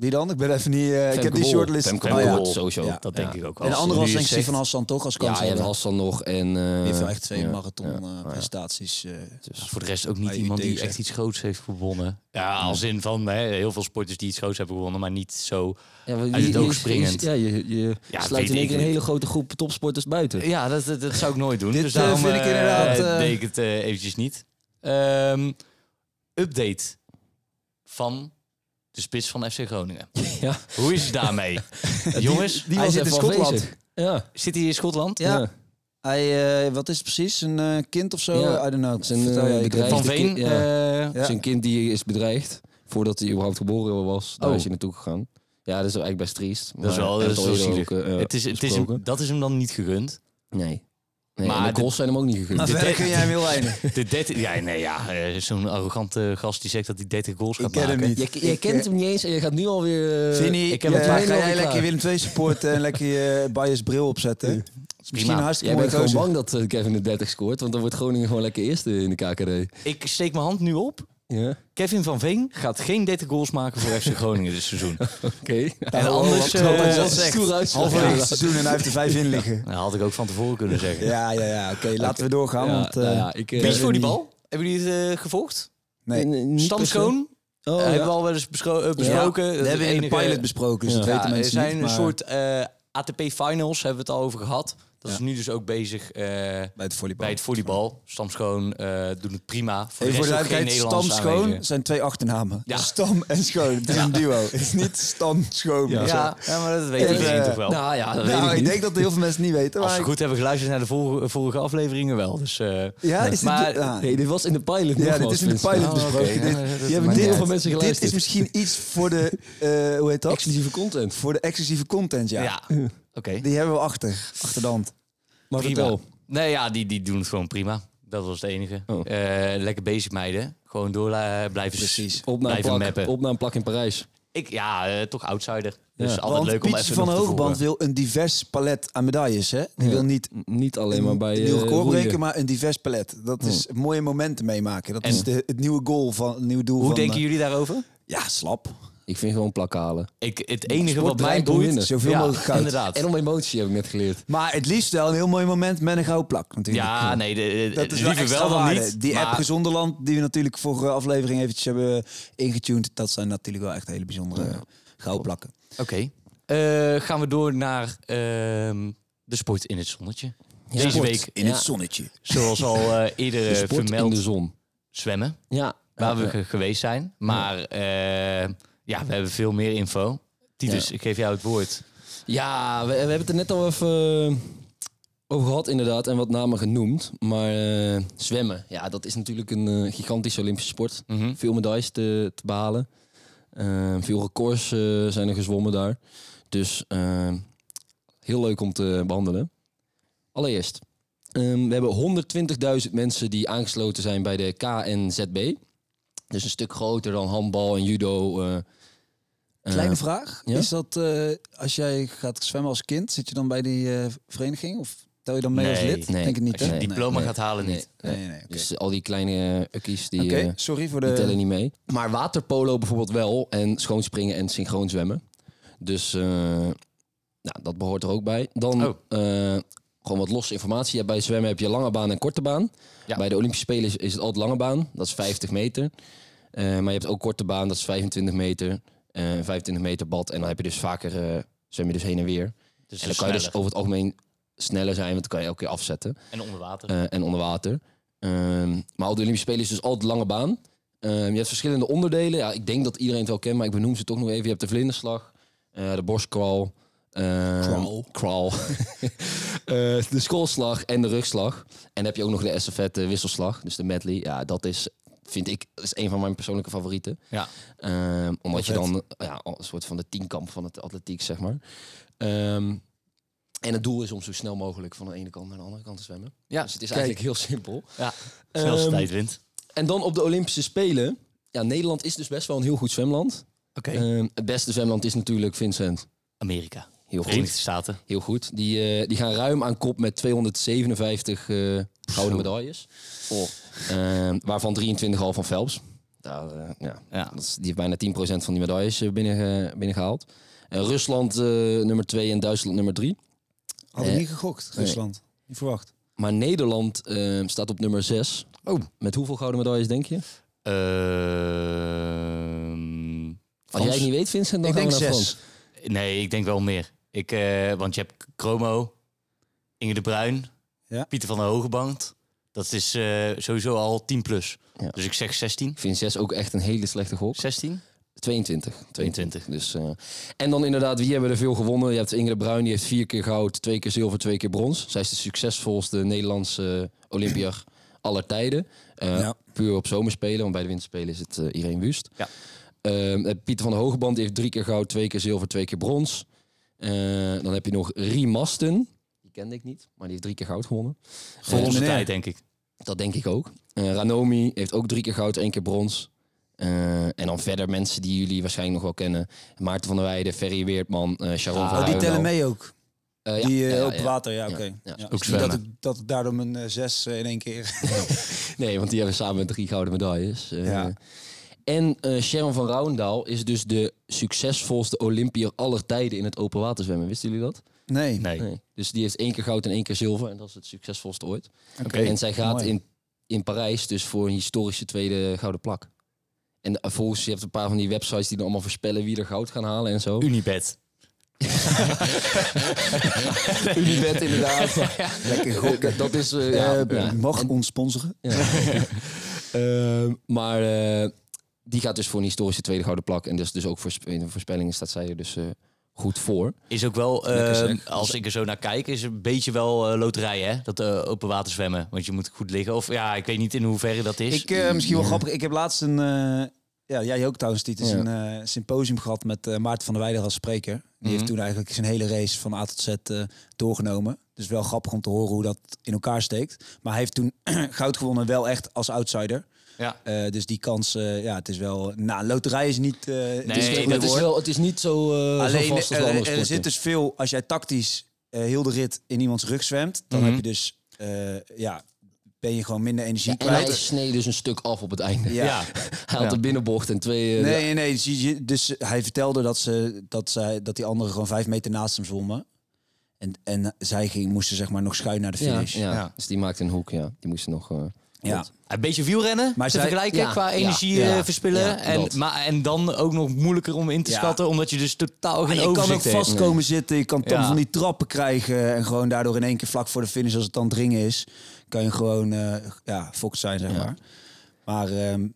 Speaker 1: Wie dan? Ik ben even niet... eh, ik heb die
Speaker 3: Bol.
Speaker 1: shortlist...
Speaker 3: Femke
Speaker 1: Oh, ja.
Speaker 3: Bol. sowieso.
Speaker 1: Ja.
Speaker 2: Dat
Speaker 3: Ja.
Speaker 2: denk ik ook wel.
Speaker 1: En de andere
Speaker 2: Nu
Speaker 1: was
Speaker 2: je
Speaker 1: denk ik
Speaker 2: het
Speaker 1: die van
Speaker 2: zegt.
Speaker 1: Hassan toch als
Speaker 3: Ja, je hebt
Speaker 1: kanshebber.
Speaker 3: Hassan nog en... eh,
Speaker 1: Die heeft wel echt twee
Speaker 3: ja.
Speaker 1: marathon
Speaker 3: ja. Dus-
Speaker 1: eh, prestaties. eh,
Speaker 2: Ja, Voor de rest ook niet
Speaker 1: Ah,
Speaker 2: iemand die
Speaker 1: IUT's, hè.
Speaker 2: echt iets groots heeft gewonnen. Ja, als in van hè, heel veel sporters die iets groots hebben gewonnen, maar niet zo...
Speaker 3: Ja, maar
Speaker 2: Uit het oog
Speaker 3: je-
Speaker 2: springend.
Speaker 3: Ja, je, je
Speaker 2: Ja, weet
Speaker 3: sluit in één
Speaker 2: ik
Speaker 3: keer een
Speaker 2: niet.
Speaker 3: hele grote groep topsporters buiten.
Speaker 2: Ja, dat, dat, dat zou ik nooit doen.
Speaker 1: Dit,
Speaker 2: dus
Speaker 1: eh,
Speaker 2: daarom
Speaker 1: vind ik
Speaker 2: eh,
Speaker 1: inderdaad, eh,
Speaker 2: deed ik het eh, eventjes niet. Ehm, update van de spits van FC Groningen.
Speaker 3: Ja.
Speaker 2: Hoe is het daarmee? Jongens,
Speaker 1: die- Hij zit in
Speaker 3: even
Speaker 1: Schotland.
Speaker 3: afwezig. Ja.
Speaker 2: zit hij in Schotland?
Speaker 1: Ja. Hij, eh, wat is het precies? Een eh, kind of zo?
Speaker 3: Ja.
Speaker 1: I don't know.
Speaker 3: Zijn, eh,
Speaker 1: Vertel jij, ik heb-
Speaker 3: bedrijf-
Speaker 2: Van
Speaker 3: Hij is
Speaker 2: Veen?
Speaker 3: de ki-
Speaker 2: eh,
Speaker 1: Ja.
Speaker 3: Zijn kind die is bedreigd voordat hij überhaupt geboren was. Daar
Speaker 2: Oh.
Speaker 3: is hij naartoe gegaan. Ja, dat is wel eigenlijk best triest.
Speaker 2: Dat is wel- dat is wel zielig.
Speaker 1: eh,
Speaker 2: het is, het is hem-
Speaker 3: een...
Speaker 2: dat is hem dan niet gegund.
Speaker 3: eh, Nee. nee
Speaker 2: Maar
Speaker 3: maar de
Speaker 2: dit-
Speaker 3: goals zijn hem ook niet gegund.
Speaker 1: Maar
Speaker 2: Dit-
Speaker 1: verder kun jij hem heel weinig.
Speaker 2: De 13 ja, nee, ja, eh, zo'n arrogante gast die zegt dat hij 30 goals gaat
Speaker 1: Ik ken
Speaker 2: maken.
Speaker 1: hem niet.
Speaker 3: Je, je kent hem niet eens en je gaat nu alweer... eh,
Speaker 1: Vinnie,
Speaker 3: ik heb
Speaker 1: eh,
Speaker 3: het twee
Speaker 1: ga
Speaker 3: nul
Speaker 1: jij
Speaker 3: klaar.
Speaker 1: lekker je Willem II supporten en lekker je eh, bias bril opzetten? Dat is misschien een hartstikke
Speaker 3: Jij
Speaker 1: mooi
Speaker 3: bent gewoon
Speaker 1: gozer.
Speaker 3: bang dat eh, Kevin de 30 scoort, want dan wordt Groningen gewoon lekker eerste in de KKD.
Speaker 2: Ik steek mijn hand nu op
Speaker 3: Ja.
Speaker 2: Kevin van Veen gaat geen 30 goals maken voor FC Groningen dit seizoen.
Speaker 3: Oké.
Speaker 2: En anders,
Speaker 1: wat- wat-
Speaker 2: eh,
Speaker 1: wat-
Speaker 2: zegt-
Speaker 3: stoer uitslag.
Speaker 1: Halverwege
Speaker 2: Ja.
Speaker 1: het seizoen en hij heeft er vijf in liggen.
Speaker 2: Dat Nou, had ik ook van tevoren kunnen zeggen.
Speaker 1: Ja, ja, ja. Oké, laten we doorgaan.
Speaker 3: Ja,
Speaker 1: want, eh,
Speaker 3: nou ja, ik, eh,
Speaker 1: Beach voor die
Speaker 2: Beachvolleybal. Hebben jullie het eh, gevolgd?
Speaker 1: nee.
Speaker 2: Stamschoon.
Speaker 3: Oh,
Speaker 2: Eh,
Speaker 3: ja.
Speaker 2: hebben we al wel eens bescho- eh, besproken.
Speaker 1: Ja,
Speaker 2: Dat
Speaker 1: dat hebben we in de
Speaker 2: enige-
Speaker 1: pilot besproken, dus dat
Speaker 2: Ja,
Speaker 1: weten
Speaker 2: er
Speaker 1: mensen
Speaker 2: zijn
Speaker 1: niet.
Speaker 2: een
Speaker 1: maar
Speaker 2: soort eh, ATP Finals, hebben we het al over gehad. Dat
Speaker 1: Ja.
Speaker 2: is nu dus ook bezig eh,
Speaker 1: bij het volleybal.
Speaker 2: bij het volleybal. Stamschoon eh doen het prima.
Speaker 1: Even
Speaker 2: Voor de
Speaker 1: voor de
Speaker 2: rest ook
Speaker 1: duidelijkheid,
Speaker 2: geen Nederlanders
Speaker 1: Stam Schoon
Speaker 2: aanwezig.
Speaker 1: zijn twee achternamen.
Speaker 2: Ja.
Speaker 1: Stam en Schoon. Het is een duo. Het is niet Stam Schoon.
Speaker 2: Ja, ja, maar dat weet
Speaker 1: Even,
Speaker 2: iedereen
Speaker 1: eh,
Speaker 2: toch wel.
Speaker 3: Nou ja, dat
Speaker 1: Nou,
Speaker 3: weet
Speaker 1: ik,
Speaker 3: ik niet.
Speaker 1: denk dat heel veel mensen het niet weten.
Speaker 2: Als
Speaker 1: maar
Speaker 2: ze
Speaker 1: ik-
Speaker 2: goed hebben geluisterd naar de vorige, vorige afleveringen wel. Dus, eh,
Speaker 1: Ja, is dit- ah,
Speaker 2: maar
Speaker 1: ja.
Speaker 3: Nee, dit was in de pilot. Ah,
Speaker 1: Ja,
Speaker 3: nogmaals,
Speaker 1: dit is in de
Speaker 3: mensen.
Speaker 1: pilot
Speaker 2: Oh, oké.
Speaker 1: besproken.
Speaker 2: Ja,
Speaker 1: dit,
Speaker 2: dat- dat
Speaker 1: die hebben
Speaker 2: maakt
Speaker 1: dit,
Speaker 2: niet
Speaker 3: uit. Mensen
Speaker 1: dit is
Speaker 3: geluisterd.
Speaker 1: misschien iets voor de, eh, hoe heet dat?
Speaker 3: Exclusieve content.
Speaker 1: Voor de exclusieve content, ja.
Speaker 2: ja, oké.
Speaker 1: Die hebben we achter, achter de hand.
Speaker 3: Maar
Speaker 2: Prima.
Speaker 3: vertel.
Speaker 2: Nee, ja, die, die doen het gewoon prima. Dat was het enige.
Speaker 3: Oh.
Speaker 2: Eh, lekker bezig, meiden. Gewoon door eh, blijven,
Speaker 1: Precies.
Speaker 3: Op naar, een
Speaker 2: blijven
Speaker 3: plak,
Speaker 2: mappen.
Speaker 3: op naar een plak in Parijs.
Speaker 2: Ik, ja, eh, toch outsider. Dus
Speaker 3: Ja.
Speaker 2: altijd
Speaker 1: Want
Speaker 2: leuk om
Speaker 1: Pietje
Speaker 2: even
Speaker 1: van
Speaker 2: nog te
Speaker 1: Hoogband
Speaker 2: voegen.
Speaker 1: wil een divers palet aan medailles. Hè? Die
Speaker 3: Ja.
Speaker 1: wil niet
Speaker 3: Niet alleen maar bij...
Speaker 1: een
Speaker 3: eh,
Speaker 1: nieuw record
Speaker 3: roeien.
Speaker 1: breken, maar een divers palet. Dat is mooie momenten meemaken. Dat
Speaker 2: Hmm. En-
Speaker 1: is de, het nieuwe goal van het nieuwe doel
Speaker 2: Hoe
Speaker 1: van...
Speaker 2: denken
Speaker 1: eh,
Speaker 2: jullie daarover?
Speaker 1: Ja, slap.
Speaker 3: Ik vind gewoon plak halen.
Speaker 2: Ik, het enige wat mij
Speaker 3: draait om
Speaker 2: boeit...
Speaker 3: winnen.
Speaker 1: Zoveel mogelijk goud.
Speaker 2: Inderdaad.
Speaker 3: En om emotie heb ik net geleerd.
Speaker 1: Maar het liefst wel een heel mooi moment met een gouden plak natuurlijk.
Speaker 2: Ja, nee, de, de-
Speaker 1: Dat is wel
Speaker 2: Eh, liever
Speaker 1: extra
Speaker 2: wel dan
Speaker 1: waarde.
Speaker 2: niet.
Speaker 1: Die
Speaker 2: maar
Speaker 1: app Gezonderland, die we natuurlijk vorige aflevering eventjes hebben eh, ingetuned. Dat zijn natuurlijk wel echt hele bijzondere eh, gouden plakken.
Speaker 2: Oké. Eh, gaan we door naar ehm, de sport in het zonnetje. Deze
Speaker 3: Sport
Speaker 2: week,
Speaker 1: In
Speaker 3: Ja.
Speaker 1: het zonnetje.
Speaker 2: zoals al eh, eerder eh,
Speaker 3: Sport in
Speaker 2: vermeld,
Speaker 3: de zon.
Speaker 2: zwemmen.
Speaker 3: Ja. Eh,
Speaker 2: Waar we
Speaker 3: Ja.
Speaker 2: ge- geweest zijn. Maar eh, ja, we hebben veel meer info. Titus, ik geef jou het woord.
Speaker 3: Ja, we, we hebben het er net al even eh, over gehad inderdaad. En wat namen genoemd. Maar eh, zwemmen, ja, dat is natuurlijk een eh, gigantische Olympische sport. Veel medailles te, te behalen. Eh, veel records eh, zijn er gezwommen daar. Dus eh, heel leuk om te behandelen. Allereerst, ehm, we hebben 120.000 mensen die aangesloten zijn bij de KNZB. Dus een stuk groter dan handbal en judo. eh, eh,
Speaker 1: Kleine vraag.
Speaker 3: ja?
Speaker 1: Is dat eh, als jij gaat zwemmen als kind, zit je dan bij die eh, vereniging? Of tel je dan mee als
Speaker 2: Nee.
Speaker 1: lid?
Speaker 3: Nee.
Speaker 1: Denk het niet,
Speaker 2: Als je
Speaker 1: hè?
Speaker 2: het
Speaker 1: Nee.
Speaker 2: diploma
Speaker 3: nee.
Speaker 2: gaat halen,
Speaker 3: nee,
Speaker 2: niet.
Speaker 1: Nee, nee, nee, oké.
Speaker 3: Dus al die kleine eh, ukkies die,
Speaker 1: Oké,
Speaker 3: eh,
Speaker 1: sorry voor
Speaker 3: die tellen
Speaker 1: de...
Speaker 3: niet mee. Maar waterpolo bijvoorbeeld wel. En schoonspringen en synchroon zwemmen. Dus eh, nou, dat behoort er ook bij. Dan
Speaker 2: Oh.
Speaker 3: eh, gewoon wat losse informatie. Ja, bij zwemmen heb je lange baan en korte baan.
Speaker 2: Ja.
Speaker 3: Bij de Olympische Spelen is, is het altijd lange baan. Dat is 50 meter. Eh, maar je hebt ook korte baan. Dat is 25 meter. Eh, 25 meter bad. En dan heb je dus vaker... eh, zwem je dus heen en weer.
Speaker 2: Dus
Speaker 3: en dan kan je dus
Speaker 2: sneller.
Speaker 3: over het algemeen sneller zijn. Want dan kan je elke keer afzetten.
Speaker 2: En onder water.
Speaker 3: Eh, en onder water. Ehm, maar op de Olympische Spelen is dus altijd lange baan. Ehm, je hebt verschillende onderdelen. Ja, ik denk dat iedereen het wel kent, maar ik benoem ze toch nog even. Je hebt de vlinderslag, eh, de borstcrawl. ehm,
Speaker 1: Crawl.
Speaker 3: crawl. Eh, de schoolslag en de rugslag. En dan heb je ook nog de estafette wisselslag, dus de medley. Ja, dat is, vind ik, is een van mijn persoonlijke favorieten.
Speaker 2: ja.
Speaker 3: Ehm, omdat je
Speaker 1: Vet.
Speaker 3: dan eh, ja, een soort van de tienkamp van het atletiek, zeg maar. Ehm, en het doel is om zo snel mogelijk van de ene kant naar de andere kant te zwemmen.
Speaker 2: Ja,
Speaker 3: dus het is
Speaker 1: kijk.
Speaker 3: eigenlijk heel simpel.
Speaker 2: ja. Snelste
Speaker 3: Ehm,
Speaker 2: tijd wint.
Speaker 3: En dan op de Olympische Spelen. Ja, Nederland is dus best wel een heel goed zwemland.
Speaker 2: Oké.
Speaker 3: Ehm, het beste zwemland is natuurlijk Vincent.
Speaker 2: Eh, Amerika.
Speaker 3: Heel
Speaker 2: Verenigde
Speaker 3: goed.
Speaker 2: Staten.
Speaker 3: Heel goed. Die, eh, die gaan ruim aan kop met 257 eh, gouden medailles.
Speaker 2: Oh.
Speaker 3: Ehm, waarvan 23 al van Phelps. Daar, eh, ja,
Speaker 2: Ja.
Speaker 3: dat is, die heeft bijna 10% van die medailles eh, binnen, eh, binnengehaald. Eh, Rusland eh, nummer 2 en Duitsland nummer 3.
Speaker 1: Had ik
Speaker 3: Eh,
Speaker 1: niet gegokt, Rusland. Niet verwacht.
Speaker 3: Maar Nederland eh, staat op nummer 6.
Speaker 2: Oh.
Speaker 3: Met hoeveel gouden medailles denk je?
Speaker 2: Ehm,
Speaker 3: Als jij
Speaker 2: Frans?
Speaker 3: het niet weet, Vincent, dan
Speaker 1: Ik
Speaker 3: gaan
Speaker 1: denk
Speaker 3: we naar
Speaker 1: zes.
Speaker 3: Frans.
Speaker 2: Nee, ik denk wel meer. Ik, eh, want je hebt Chromo, Inge de Bruin,
Speaker 1: Ja.
Speaker 2: Pieter van der Hogeband. Dat is eh, sowieso al 10 plus.
Speaker 3: Ja.
Speaker 2: Dus ik zeg 16.
Speaker 3: Ik vind 6 ook echt een hele slechte gok.
Speaker 2: 16?
Speaker 3: 22.
Speaker 2: 22.
Speaker 3: Dus, eh, en dan inderdaad, wie hebben er veel gewonnen? Je hebt Ingrid Bruin, die heeft vier keer goud, twee keer zilver, twee keer brons. Zij is de succesvolste Nederlandse Olympiër aller tijden. Eh,
Speaker 1: Ja.
Speaker 3: Puur op zomerspelen, want bij de winterspelen is het eh, Irene Wust.
Speaker 2: Ja.
Speaker 3: Ehm, Pieter van der Hogeband die heeft drie keer goud, twee keer zilver, twee keer brons. Eh, dan heb je nog Rie Masten. Die kende ik niet, maar die heeft drie keer goud gewonnen.
Speaker 2: Voor
Speaker 1: Eh,
Speaker 2: onze
Speaker 1: meneer.
Speaker 2: tijd, denk ik.
Speaker 3: Dat denk ik ook. Eh, Ranomi heeft ook drie keer goud, één keer brons. Eh, en dan verder mensen die jullie waarschijnlijk nog wel kennen. Maarten van der Weijden, Ferry Weertman, eh Sharon
Speaker 2: Ah,
Speaker 3: van
Speaker 1: Oh, die
Speaker 3: Huijlo.
Speaker 1: tellen mee ook.
Speaker 3: Eh, Eh, ja,
Speaker 1: Die
Speaker 3: ja,
Speaker 1: eh,
Speaker 3: ja,
Speaker 1: open
Speaker 3: ja.
Speaker 1: water, ja,
Speaker 3: Ja,
Speaker 1: oké. Ja,
Speaker 3: ja.
Speaker 1: dus
Speaker 3: Ook
Speaker 1: niet
Speaker 2: zwemmen.
Speaker 1: dat, ik, dat ik daardoor mijn eh, zes eh, in één keer...
Speaker 3: Nee, want die hebben samen drie gouden medailles. Eh,
Speaker 1: Ja.
Speaker 3: En eh, Sharon van Rouwendaal is dus de succesvolste Olympier aller tijden in het open water zwemmen. Wisten jullie dat?
Speaker 1: nee.
Speaker 2: Nee.
Speaker 3: Nee. Dus die heeft één keer goud en één keer zilver. En dat is het succesvolste ooit.
Speaker 1: Oké.
Speaker 3: en zij gaat
Speaker 1: mooi.
Speaker 3: in, in Parijs dus voor een historische tweede gouden plak. En eh, volgens je hebt een paar van die websites die dan allemaal voorspellen wie er goud gaan halen en zo.
Speaker 2: Unibed.
Speaker 3: Unibet inderdaad.
Speaker 1: Lekker
Speaker 3: Dat- dat is... eh, ja,
Speaker 1: Eh,
Speaker 3: ja.
Speaker 1: Mag ons sponsoren?
Speaker 3: Ehm, maar eh, die gaat dus voor een historische tweede gouden plak. En dus, dus ook voor sp- in de voorspellingen staat zij er dus eh, goed voor.
Speaker 2: Is ook wel,
Speaker 3: Lekker zeg.
Speaker 2: ehm, als ik er zo naar kijk, is een beetje wel eh, loterij, hè? Dat eh, open water zwemmen. Want je moet goed liggen. Of ja, ik weet niet in hoeverre dat is.
Speaker 1: Ik, eh, misschien wel grappig, ik heb laatst een... eh, ja, jij ook trouwens, Tiet, is
Speaker 3: Ja.
Speaker 1: een eh, symposium gehad met eh, Maarten van der Weijden als spreker. Die heeft
Speaker 3: Mhm.
Speaker 1: toen eigenlijk zijn hele race van A tot Z eh, doorgenomen. Dus wel grappig om te horen hoe dat in elkaar steekt. Maar hij heeft toen goud gewonnen, wel echt als outsider.
Speaker 2: ja.
Speaker 1: Eh, dus die kans, eh, ja, het is wel... Nou, loterij is niet... eh, het is
Speaker 2: Nee,
Speaker 1: niet-
Speaker 2: dat
Speaker 3: het, Dus is
Speaker 2: hoort.
Speaker 3: wel, het is niet zo, eh
Speaker 1: Alleen
Speaker 3: zo vast als
Speaker 1: er,
Speaker 3: de andere
Speaker 1: er
Speaker 3: sporten.
Speaker 1: zit dus veel, als jij tactisch eh, heel de rit in iemands rug zwemt,
Speaker 3: Mhm.
Speaker 1: dan heb je dus, eh, ja, ben je gewoon minder energie
Speaker 3: Ja, en hij
Speaker 1: kwijt.
Speaker 3: sneed dus een stuk af op het einde.
Speaker 1: Ja.
Speaker 2: ja.
Speaker 3: Hij had een binnenbocht en twee... eh,
Speaker 1: Nee, nee, nee. Dus, je- je- dus hij vertelde dat, ze, dat, zij, dat die anderen gewoon vijf meter naast hem zwommen. En, en zij ging, moesten zeg maar nog schuin naar de
Speaker 3: ja,
Speaker 1: finish.
Speaker 3: ja.
Speaker 2: Ja.
Speaker 3: Dus die maakte een hoek, ja. Die moest nog... eh,
Speaker 1: Ja.
Speaker 2: Een beetje wielrennen
Speaker 1: Maar
Speaker 2: te
Speaker 1: zij-
Speaker 2: vergelijken
Speaker 3: ja,
Speaker 2: qua
Speaker 3: ja,
Speaker 2: energie
Speaker 1: ja,
Speaker 2: eh, verspillen.
Speaker 3: ja, dat.
Speaker 2: en, maar, en dan ook nog moeilijker om in te
Speaker 1: Ja.
Speaker 2: schatten, omdat je dus totaal
Speaker 3: Ah,
Speaker 2: geen
Speaker 1: Maar je kan ook
Speaker 2: overzicht hebt.
Speaker 1: vast komen zitten, je kan dan
Speaker 2: Ja.
Speaker 1: van die trappen krijgen en gewoon daardoor in één keer vlak voor de finish, als het dan dringen is, kan je gewoon eh ja, fokt zijn, zeg maar. Maar ehm, nou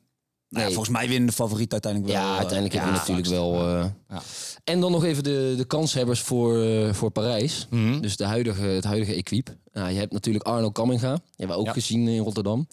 Speaker 1: ja,
Speaker 3: Nee.
Speaker 1: volgens mij winnen de favoriet uiteindelijk wel.
Speaker 3: ja,
Speaker 1: eh,
Speaker 3: uiteindelijk
Speaker 1: ja,
Speaker 3: hebben we natuurlijk wel... eh,
Speaker 2: Ja.
Speaker 3: En dan nog even de, de kanshebbers voor, eh, voor Parijs.
Speaker 2: Mhm.
Speaker 3: Dus de huidige, het huidige equipe. Nou, je hebt natuurlijk Arno Kamminga. Die hebben we ook
Speaker 2: Ja.
Speaker 3: gezien in Rotterdam.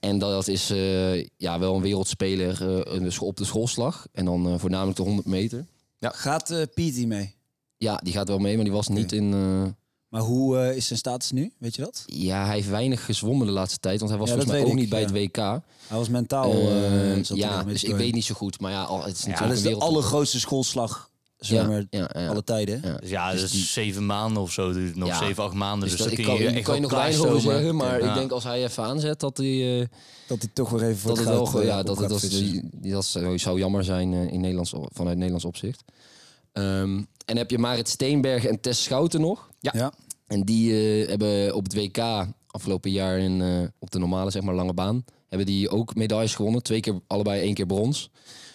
Speaker 3: En dat is eh, ja, wel een wereldspeler eh, een scho- op de schoolslag. En dan eh, voornamelijk de 100 meter.
Speaker 1: Gaat eh Piet hier mee?
Speaker 3: Ja, die gaat wel mee, maar die was niet in... eh,
Speaker 1: Maar hoe eh, is zijn status nu? Weet je dat?
Speaker 3: ja, hij heeft weinig gezwommen de laatste tijd. Want hij was
Speaker 1: Ja, dat
Speaker 3: volgens mij ook
Speaker 1: weet
Speaker 3: niet
Speaker 1: ik,
Speaker 3: bij het WK.
Speaker 1: Hij was mentaal...
Speaker 3: Eh,
Speaker 1: eh, zat er nog
Speaker 3: ja,
Speaker 1: een beetje
Speaker 3: dus ik
Speaker 1: doorheen.
Speaker 3: weet niet zo goed. Maar ja, al, het is
Speaker 1: Ja,
Speaker 3: natuurlijk
Speaker 1: dat is
Speaker 3: een
Speaker 1: de
Speaker 3: wereld...
Speaker 1: allergrootste schoolslag zwemmer
Speaker 3: ja, ja, ja.
Speaker 1: alle tijden.
Speaker 3: Ja.
Speaker 2: Dus ja, dat is zeven maanden of zo duurt het nog.
Speaker 3: Ja.
Speaker 2: Zeven, acht maanden.
Speaker 3: Dus
Speaker 2: Dus,
Speaker 3: dat,
Speaker 2: dan
Speaker 3: ik
Speaker 2: kun
Speaker 3: kan,
Speaker 2: je
Speaker 3: ik
Speaker 2: echt
Speaker 3: kan je
Speaker 2: wel
Speaker 3: nog weinig over
Speaker 2: klaarstomen.
Speaker 3: zeggen, maar
Speaker 2: Ja.
Speaker 3: ik denk als hij even aanzet dat hij... eh,
Speaker 1: Dat hij toch weer even voor
Speaker 3: dat het
Speaker 1: goud,
Speaker 3: wel gewoon-
Speaker 1: eh,
Speaker 3: ja,
Speaker 1: op
Speaker 3: dat het
Speaker 1: gaat
Speaker 3: als,
Speaker 1: fietsen.
Speaker 3: dat zou, zou jammer zijn eh, in Nederlands, op- vanuit Nederlands opzicht. Ehm, en heb je Marit Steenberg en Tess Schouten nog.
Speaker 1: Ja.
Speaker 3: En die eh, hebben op het WK afgelopen jaar in, eh, op de normale, zeg maar, lange baan... hebben die ook medailles gewonnen. Twee keer, allebei één keer brons.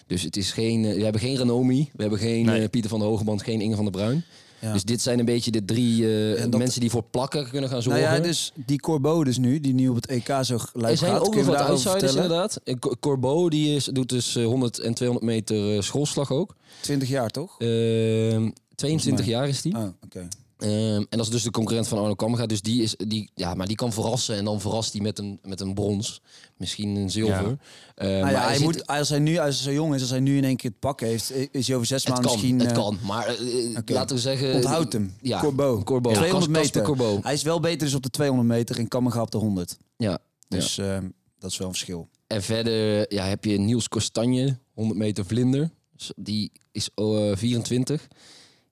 Speaker 3: Dus het is geen, eh, we hebben geen Renomi, we hebben geen
Speaker 2: Nee.
Speaker 3: eh, Pieter van der Hogeband, geen Inge van der Bruin.
Speaker 1: Ja.
Speaker 3: Dus dit zijn een beetje de drie eh,
Speaker 1: En dat-
Speaker 3: mensen die voor plakken kunnen gaan
Speaker 1: Nou
Speaker 3: zorgen.
Speaker 1: ja, dus die Corbeau dus nu, die nu op het EK zo
Speaker 3: Er
Speaker 1: lijkt
Speaker 3: zijn
Speaker 1: gaat.
Speaker 3: ook nog
Speaker 1: kunnen we
Speaker 3: wat
Speaker 1: daarover
Speaker 3: outsiders
Speaker 1: vertellen?
Speaker 3: inderdaad. Eh, Cor- Corbeau die is, doet dus eh, 100 en 200 meter eh, schoolslag ook.
Speaker 1: 20 jaar toch?
Speaker 3: Ehm, 22
Speaker 1: mij.
Speaker 3: jaar is die.
Speaker 1: Oh, oké.
Speaker 3: Ehm, en dat is dus de concurrent van Arno Kammerga. Dus die is, die, ja, maar die kan verrassen en dan verrast hij met een, met een brons. Misschien een zilver.
Speaker 2: Ja.
Speaker 3: Eh,
Speaker 1: Nou
Speaker 3: maar
Speaker 1: ja, hij
Speaker 3: zit-
Speaker 1: moet, als hij nu, als hij zo jong is, als hij nu in één keer het pak heeft, i- is hij over zes
Speaker 3: het
Speaker 1: maanden
Speaker 3: kan,
Speaker 1: misschien.
Speaker 3: het
Speaker 1: eh,
Speaker 3: kan. Maar eh, eh,
Speaker 1: oké.
Speaker 3: laten we zeggen...
Speaker 1: Onthoud hem.
Speaker 3: Ja,
Speaker 1: Corbeau.
Speaker 3: Corbeau.
Speaker 1: 200
Speaker 3: Kas- Kasper
Speaker 1: meter.
Speaker 3: Corbeau.
Speaker 1: Hij is wel beter dus op de 200 meter en Kammerga op de 100.
Speaker 3: Ja.
Speaker 1: Dus ehm, dat is wel een verschil.
Speaker 3: En verder ja, heb je Niels Kostanje, 100 meter vlinder. Dus Die is eh, 24.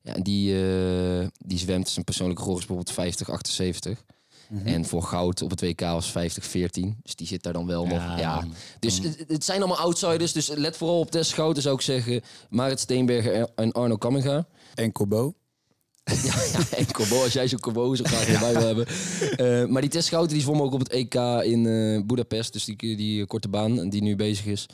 Speaker 3: Ja, en die, eh, die zwemt zijn persoonlijke record is bijvoorbeeld 50, 78. En voor goud op het WK was 50, 14. Dus die zit daar dan wel nog. Ja.
Speaker 2: dan-
Speaker 3: Dus het, het zijn allemaal outsiders. Dus let vooral op Tess Schouten zou ik zeggen. Marit Steenberger en Arno Kamminga.
Speaker 1: En Corbeau.
Speaker 3: Ja, en Corbeau, als jij zo'n Corbeau zo graag erbij wil hebben. Eh, maar die Tess Schouten die zwom ook op het EK in eh Budapest. Dus die, die korte baan die nu bezig is.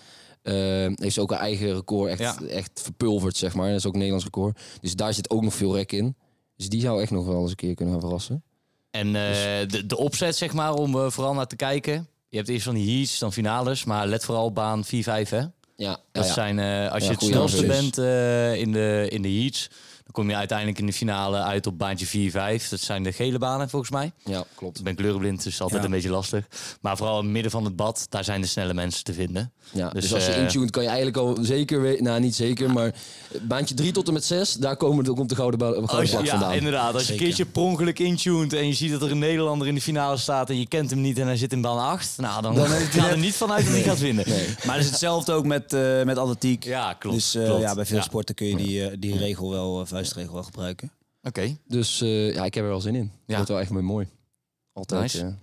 Speaker 3: eh, heeft ze ook haar eigen record echt,
Speaker 2: Ja.
Speaker 3: echt verpulverd, zeg maar. Dat is ook een Nederlands record. Dus daar zit ook nog veel rek in. Dus die zou echt nog wel eens een keer kunnen gaan verrassen.
Speaker 2: En
Speaker 3: Dus-
Speaker 2: eh, de, de opzet, zeg maar, om eh, vooral naar te kijken. Je hebt eerst van die heats, dan finales. Maar let vooral op baan 4-5, hè.
Speaker 3: Ja,
Speaker 2: Dat
Speaker 3: ja, ja.
Speaker 2: zijn, eh, als
Speaker 3: Ja,
Speaker 2: je het
Speaker 3: goeie
Speaker 2: snelste
Speaker 3: analyse.
Speaker 2: bent eh, in, de, in de heats, dan kom je uiteindelijk in de finale uit op baantje 4-5. Dat zijn de gele banen volgens mij.
Speaker 3: ja klopt.
Speaker 2: Ik ben kleurenblind, dus altijd
Speaker 1: Ja.
Speaker 2: een beetje lastig. Maar vooral in het midden van het bad, daar zijn de snelle mensen te vinden.
Speaker 3: Ja, dus,
Speaker 2: Dus,
Speaker 3: als je
Speaker 2: eh,
Speaker 3: intuned kan je eigenlijk al zeker weten, nou niet zeker, maar baantje 3 tot en met 6, daar komen de, komt de gouden, ba- gouden
Speaker 2: Als je-
Speaker 3: plak
Speaker 2: Oh, ja,
Speaker 3: vandaan.
Speaker 2: inderdaad. Als je een
Speaker 1: Zeker.
Speaker 2: keertje per ongeluk intuned en je ziet dat er een Nederlander in de finale staat en je kent hem niet en hij zit in baan 8, nou dan,
Speaker 1: Dan heeft hij
Speaker 2: ga er
Speaker 1: net-
Speaker 2: niet vanuit dat hij gaat winnen.
Speaker 1: Maar het is hetzelfde ook met, eh, met atletiek.
Speaker 2: Ja, klopt.
Speaker 1: dus eh,
Speaker 2: klopt.
Speaker 1: ja, bij veel
Speaker 2: Ja.
Speaker 1: sporten kun je die, eh, die regel wel, eh, vuistregel wel gebruiken.
Speaker 2: Oké,
Speaker 3: Dus eh, ja, ik heb er wel zin in. Het
Speaker 2: Ja.
Speaker 3: wordt wel echt mooi. mooi. Altijd.
Speaker 2: Nice.
Speaker 3: eh,
Speaker 2: oké.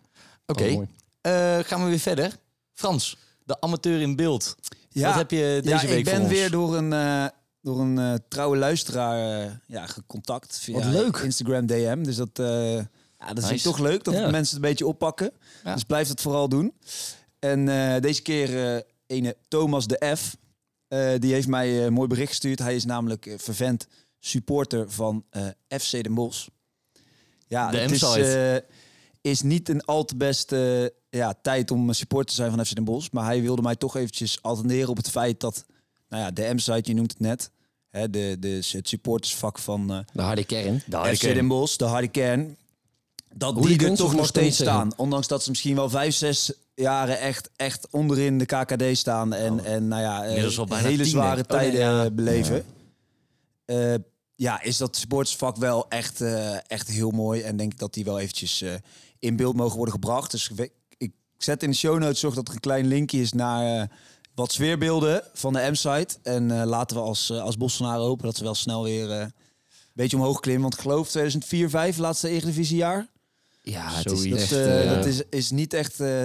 Speaker 3: altijd mooi.
Speaker 2: Eh, gaan we weer verder. Frans, de amateur in beeld. Wat heb je deze
Speaker 1: ja,
Speaker 2: week
Speaker 1: ik ben
Speaker 2: voor ons?
Speaker 1: weer door een, eh, door een eh, trouwe luisteraar eh, ja, gecontact via
Speaker 3: Wat leuk.
Speaker 1: Instagram DM. Dus dat, eh, ja, dat vind ik
Speaker 2: Nice.
Speaker 1: toch leuk dat
Speaker 3: Ja.
Speaker 1: mensen het een beetje oppakken.
Speaker 2: Ja.
Speaker 1: Dus blijf dat vooral doen. En eh, deze keer eh, ene Thomas de F. eh, die heeft mij eh, een mooi bericht gestuurd. Hij is namelijk eh, vervent supporter van eh, FC de Mos. Ja,
Speaker 2: De
Speaker 1: het is,
Speaker 2: M-site.
Speaker 1: eh, is niet een al te beste eh, ja, tijd om supporter te zijn van FC Den Bosch. Maar hij wilde mij toch eventjes attenderen op het feit dat... Nou ja, de M-site, je noemt het net. Hè, de, de, het supportersvak van eh,
Speaker 3: De harde kern.
Speaker 2: De harde
Speaker 1: FC
Speaker 2: kern.
Speaker 1: Den Bosch, de harde kern. Dat die er
Speaker 3: Hooligans,
Speaker 1: toch
Speaker 3: of
Speaker 1: nog
Speaker 3: mag ik dat niet
Speaker 1: steeds staan. Ondanks dat ze misschien wel vijf, zes jaren echt, echt onderin de KKD staan. En, en nou ja, eh,
Speaker 2: Oh. Inmiddels al bijna
Speaker 1: hele
Speaker 2: tien, hè?
Speaker 1: zware
Speaker 2: Oh, nee,
Speaker 1: tijden
Speaker 2: ja.
Speaker 1: eh, beleven. Ja. ja, is dat sportsvak wel echt, eh, echt heel mooi. En denk ik dat die wel eventjes eh, in beeld mogen worden gebracht. Dus we- ik zet in de show notes zorg dat er een klein linkje is naar... eh, wat sfeerbeelden van de M-site. En eh, laten we als, eh, als Bolsonaro hopen dat ze wel snel weer eh, een beetje omhoog klimmen. Want ik geloof 2004, 5 laatste Eredivisiejaar.
Speaker 3: Ja, het
Speaker 2: Zoiets.
Speaker 3: is
Speaker 1: Dat,
Speaker 3: echt...
Speaker 1: eh,
Speaker 3: eh,
Speaker 1: dat is, is niet echt eh,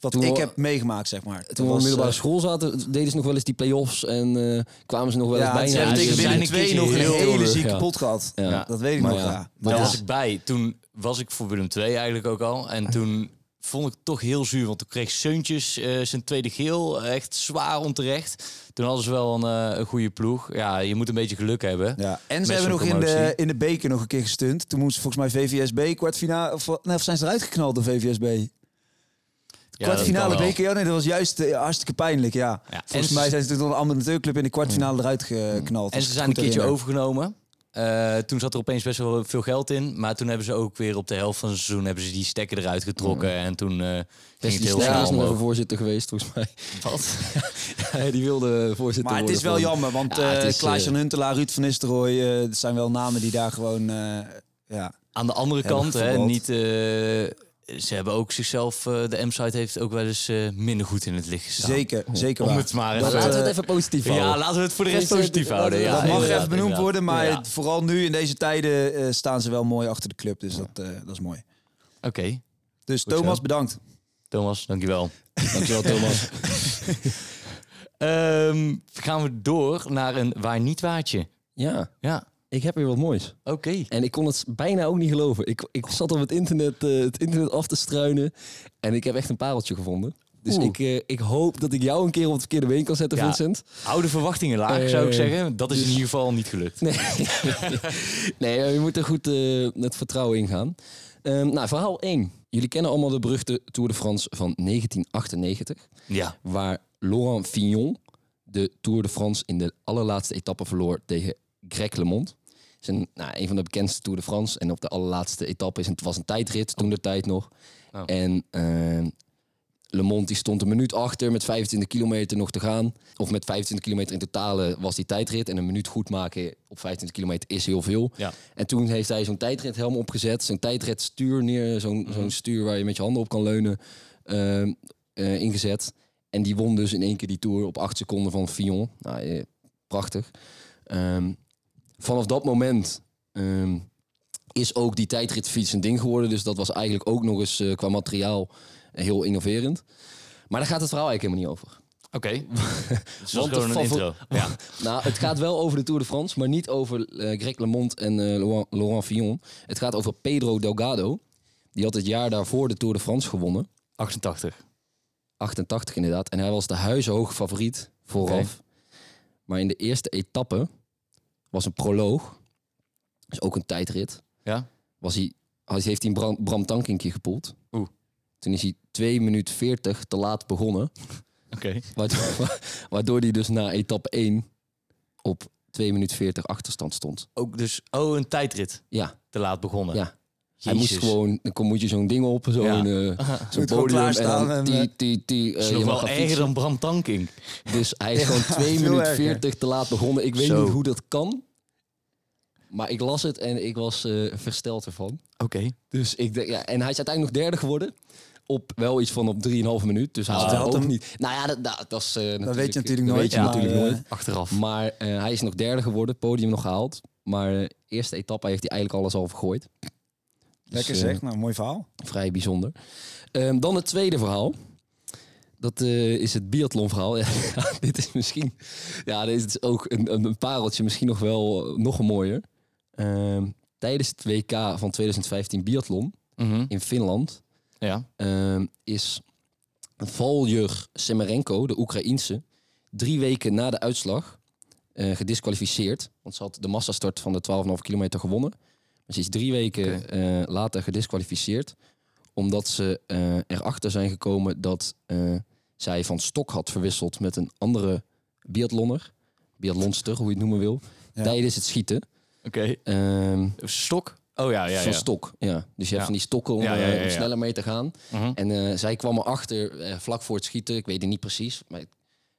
Speaker 1: wat
Speaker 3: Toen
Speaker 1: ik
Speaker 3: we-
Speaker 1: heb meegemaakt, zeg maar. eh,
Speaker 3: Toen we op middelbare school zaten, deden ze nog wel eens die play-offs en eh, kwamen ze nog wel eens
Speaker 1: ja, ze
Speaker 3: bijna.
Speaker 1: hebben
Speaker 2: ze
Speaker 1: tegen
Speaker 2: zijn
Speaker 1: Willem
Speaker 2: een
Speaker 1: II
Speaker 2: keertje
Speaker 1: nog een
Speaker 2: heel
Speaker 1: hele
Speaker 3: erg,
Speaker 1: zieke
Speaker 3: ja.
Speaker 1: pot gehad.
Speaker 3: Ja.
Speaker 1: Ja, Dat weet ik
Speaker 3: Maar
Speaker 1: nog,
Speaker 3: ja.
Speaker 1: ja.
Speaker 2: Daar
Speaker 1: Ja.
Speaker 2: was ik bij. Toen was ik voor Willem II eigenlijk ook al. En toen vond ik het toch heel zuur. Want toen kreeg Seuntjes eh, zijn tweede geel. Echt zwaar onterecht. Toen hadden ze wel een, eh, een goede ploeg. Ja, je moet een beetje geluk hebben.
Speaker 1: Ja. En ze
Speaker 2: Met
Speaker 1: hebben nog
Speaker 2: zo'n
Speaker 1: in de,
Speaker 2: promotie.
Speaker 1: in de beker nog een keer gestunt. Toen moesten ze volgens mij VVSB kwartfinale... Of, nee, of zijn ze eruit geknald door VVSB?
Speaker 2: Ja,
Speaker 1: kwartfinale
Speaker 2: dat kan wel.
Speaker 1: beker, ja, nee, dat was juist eh, hartstikke pijnlijk, ja.
Speaker 2: Ja,
Speaker 1: Volgens
Speaker 2: en
Speaker 1: mij
Speaker 2: ze-
Speaker 1: zijn ze toen door een amateurclub in de kwartfinale eruit geknald.
Speaker 2: En
Speaker 1: als
Speaker 2: ze
Speaker 1: ik
Speaker 2: zijn een
Speaker 1: het goed
Speaker 2: keertje
Speaker 1: herinner.
Speaker 2: overgenomen. Eh, toen zat er opeens best wel veel geld in. Maar toen hebben ze ook weer op de helft van het seizoen... hebben ze die stekker eruit getrokken. En toen eh, ging
Speaker 3: Best
Speaker 2: het
Speaker 3: Dus die
Speaker 2: heel
Speaker 3: Snijder
Speaker 2: snel
Speaker 3: is nog even
Speaker 2: omhoog.
Speaker 3: voorzitter geweest, volgens mij. Ja, die wilde eh, voorzitter
Speaker 1: Maar het
Speaker 3: worden
Speaker 1: is wel
Speaker 3: van-
Speaker 1: jammer, want
Speaker 3: Ja,
Speaker 1: eh
Speaker 3: het is,
Speaker 1: Klaas
Speaker 3: eh,
Speaker 1: Jan Huntelaar, Ruud van Nistelrooy... eh, dat zijn wel namen die daar gewoon... eh, ja.
Speaker 2: Aan de andere
Speaker 1: Hebben
Speaker 2: kant, hè,
Speaker 1: gevoetbald.
Speaker 2: niet, eh, ze hebben ook zichzelf... eh, de M-site heeft ook wel eens eh, minder goed in het licht gestaan.
Speaker 1: Zeker, zeker
Speaker 2: Om
Speaker 1: waar.
Speaker 2: het maar
Speaker 3: Maar
Speaker 2: even-
Speaker 3: laten we het
Speaker 1: eh,
Speaker 3: even positief houden.
Speaker 2: Ja, laten we het voor de rest
Speaker 3: Is het-
Speaker 2: positief
Speaker 3: dat-
Speaker 2: houden.
Speaker 3: dat
Speaker 2: Ja,
Speaker 1: dat mag
Speaker 2: inderdaad,
Speaker 1: even benoemd
Speaker 2: inderdaad.
Speaker 1: worden, maar
Speaker 2: Ja.
Speaker 1: vooral nu in deze tijden eh, staan ze wel mooi achter de club. Dus dat, eh, dat is mooi.
Speaker 2: Oké,
Speaker 1: Dus
Speaker 2: zo.
Speaker 1: Thomas, bedankt.
Speaker 2: Thomas, dankjewel.
Speaker 3: Dankjewel, Thomas.
Speaker 2: Ehm gaan we door naar een waar niet waardje.
Speaker 3: ja,
Speaker 2: Ja,
Speaker 3: ik heb weer wat moois.
Speaker 2: oké.
Speaker 3: En ik kon het bijna ook niet geloven. Ik, ik zat op het internet, eh, het internet af te struinen. En ik heb echt een pareltje gevonden. Dus
Speaker 2: Oeh.
Speaker 3: ik, eh, ik hoop dat ik jou een keer op het verkeerde been kan zetten,
Speaker 2: Ja.
Speaker 3: Vincent.
Speaker 2: Oude verwachtingen laag,
Speaker 3: Eh,
Speaker 2: zou ik zeggen. Dat is in ieder geval niet gelukt.
Speaker 3: Nee, nee eh, je moet er goed eh, met vertrouwen in gaan. Ehm, nou, verhaal 1. Jullie kennen allemaal de beruchte Tour de France van 1998.
Speaker 2: Ja,
Speaker 3: Waar Laurent Fignon de Tour de France in de allerlaatste etappe verloor tegen Greg LeMond. Het is een, nou, een van de bekendste Tour de France. En op de allerlaatste etappe is een, het was een tijdrit, toen de tijd nog.
Speaker 2: Oh.
Speaker 3: En ehm LeMond die stond een minuut achter met 25 kilometer nog te gaan. Of met 25 kilometer in totale was die tijdrit. En een minuut goed maken op 25 kilometer is heel veel.
Speaker 2: ja.
Speaker 3: En toen heeft hij zo'n tijdrithelm opgezet. Zo'n tijdritstuur neer. Zo'n zo'n stuur waar je met je handen op kan leunen. ehm, eh, ingezet. En die won dus in één keer die Tour op acht seconden van Fillon. Nou, eh, prachtig. Ehm, vanaf dat moment ehm, is ook die tijdritfiets een ding geworden. Dus dat was eigenlijk ook nog eens eh, qua materiaal eh, heel innoverend. Maar daar gaat het verhaal eigenlijk helemaal niet over.
Speaker 2: oké. Het was
Speaker 3: Want de
Speaker 2: gewoon een
Speaker 3: favor-
Speaker 2: intro. Ja.
Speaker 3: Nou, het gaat wel over de Tour de France, maar niet over eh Greg LeMond en eh, Laurent, Laurent Fillon. Het gaat over Pedro Delgado. Die had het jaar daarvoor de Tour de France gewonnen.
Speaker 2: 88.
Speaker 3: 88 inderdaad. En hij was de huizenhoog favoriet vooraf. Maar in de eerste etappe was een proloog. Dus ook een tijdrit.
Speaker 2: Ja.
Speaker 3: Was hij, hij heeft hij een Bram, Bram Tankinkje gepoeld.
Speaker 2: Oeh.
Speaker 3: Toen is hij 2 minuut 40 te laat begonnen.
Speaker 2: Oké.
Speaker 3: Waardoor, waardoor hij dus na etappe 1 op 2 minuten 40 achterstand stond.
Speaker 2: Ook dus, oh, een tijdrit.
Speaker 3: Ja,
Speaker 2: Te laat begonnen.
Speaker 3: Ja. hij
Speaker 2: Jezus.
Speaker 3: moest gewoon, dan kom- moet je zo'n ding op, zo'n
Speaker 2: Ja.
Speaker 3: eh, zo'n
Speaker 1: Moet gewoon
Speaker 3: podium. En
Speaker 1: klaarstaan en,
Speaker 3: dan
Speaker 1: eh,
Speaker 3: die, die, die,
Speaker 2: Het is
Speaker 3: je
Speaker 2: nog
Speaker 3: mag
Speaker 2: wel
Speaker 3: gaan
Speaker 2: erger
Speaker 3: fietsen.
Speaker 2: dan Bram Tanking.
Speaker 3: Dus hij is gewoon 2
Speaker 1: veel
Speaker 3: minuten
Speaker 1: erger.
Speaker 3: 40 te laat begonnen. Ik weet
Speaker 2: Zo.
Speaker 3: niet hoe dat kan. Maar ik las het en ik was eh, versteld ervan.
Speaker 2: Oké.
Speaker 3: Dus ik denk, ja, en hij is uiteindelijk nog derde geworden. Op wel iets van op 3,5 minuut. Dus hij
Speaker 1: Ah.
Speaker 3: had
Speaker 1: Stelt
Speaker 3: ook
Speaker 1: hem.
Speaker 3: niet. Nou ja, dat, dat, dat is. eh,
Speaker 1: Dat weet je natuurlijk
Speaker 3: dat
Speaker 1: nooit.
Speaker 3: weet je
Speaker 1: maar,
Speaker 3: natuurlijk
Speaker 1: eh,
Speaker 3: nooit.
Speaker 2: Achteraf.
Speaker 3: Maar eh, hij is nog derde geworden, podium nog gehaald. Maar de eerste etappe heeft hij eigenlijk alles al vergooid. Dus,
Speaker 1: Lekker
Speaker 3: eh,
Speaker 1: zeg, nou mooi verhaal.
Speaker 3: vrij bijzonder. Ehm, dan het tweede verhaal. Dat eh, is het biathlonverhaal. Ja, dit is misschien... Ja, dit is ook een, een een pareltje. Misschien nog wel eh, nog mooier. Ehm, tijdens het WK van 2015 biathlon
Speaker 2: Mhm.
Speaker 3: in Finland...
Speaker 2: Ja.
Speaker 3: ehm, is Valjur Semerenko, de Oekraïense... drie weken na de uitslag eh, gedisqualificeerd. Want ze had de massastart van de 12,5 kilometer gewonnen. Maar ze is drie weken
Speaker 2: Oké.
Speaker 3: eh, later gedisqualificeerd. Omdat ze eh, erachter zijn gekomen dat eh, zij van stok had verwisseld met een andere biathlonner. Biathlonster, hoe je het noemen wil.
Speaker 1: Ja.
Speaker 3: Tijdens het schieten.
Speaker 2: Oké.
Speaker 3: Ehm,
Speaker 2: Stok? Oh ja, ja,
Speaker 3: van
Speaker 2: ja.
Speaker 3: stok, ja. Dus je hebt
Speaker 2: Ja.
Speaker 3: van die stokken om,
Speaker 2: Ja, ja, ja,
Speaker 3: eh, om
Speaker 2: ja.
Speaker 3: sneller mee te gaan.
Speaker 2: Mhm.
Speaker 3: En eh, zij kwam erachter, eh, vlak voor het schieten, ik weet het niet precies, maar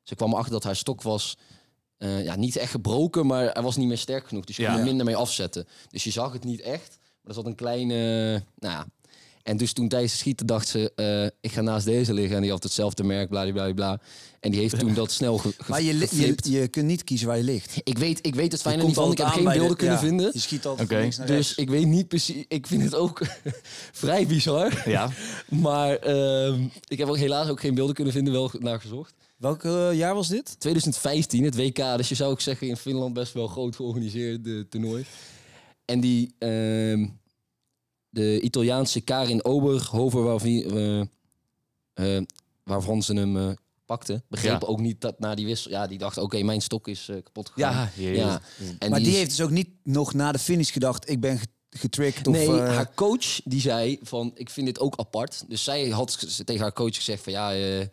Speaker 3: ze kwam erachter dat haar stok was eh, ja, niet echt gebroken, maar hij was niet meer sterk genoeg. Dus je
Speaker 2: Ja.
Speaker 3: kon er minder mee afzetten. Dus je zag het niet echt, maar er zat een kleine, nou ja. En dus toen tijdens het schieten dacht ze, eh, ik ga naast deze liggen en die had hetzelfde merk, bladibladibla. En die heeft toen dat snel ge ge-
Speaker 1: Maar je, li- je,
Speaker 3: geflipt.
Speaker 1: je kunt niet kiezen waar je ligt.
Speaker 3: Ik weet, ik weet het
Speaker 1: Je
Speaker 3: fijne
Speaker 1: komt
Speaker 3: niet van, ik
Speaker 1: altijd
Speaker 3: heb
Speaker 1: aan
Speaker 3: geen
Speaker 1: bij de-
Speaker 3: beelden kunnen
Speaker 1: ja,
Speaker 3: vinden.
Speaker 1: Je schiet altijd
Speaker 2: Oké,
Speaker 1: van links naar
Speaker 3: Dus
Speaker 1: rechts.
Speaker 3: ik weet niet precies. Ik vind het ook vrij bizar.
Speaker 2: Ja.
Speaker 3: Maar ehm, ik heb ook helaas ook geen beelden kunnen vinden, wel naar gezocht.
Speaker 1: Welk eh, jaar was dit?
Speaker 3: 2015, het WK. Dus je zou ook zeggen in Finland best wel groot georganiseerd eh, toernooi. En die ehm, de Italiaanse Karin Oberhover, waarvan, eh, eh, waarvan ze hem eh, pakte, begreep
Speaker 2: Ja.
Speaker 3: ook niet dat na die wissel. Ja, die dacht: oké, mijn stok is eh, kapot gegaan.
Speaker 2: Ja.
Speaker 3: ja. En
Speaker 1: maar die,
Speaker 3: is-
Speaker 1: heeft dus ook niet nog na de finish gedacht, ik ben ge- getricked
Speaker 3: nee,
Speaker 1: of... eh,
Speaker 3: haar coach die zei van, ik vind dit ook apart. Dus zij had z- tegen haar coach gezegd van, ja, eh, eh,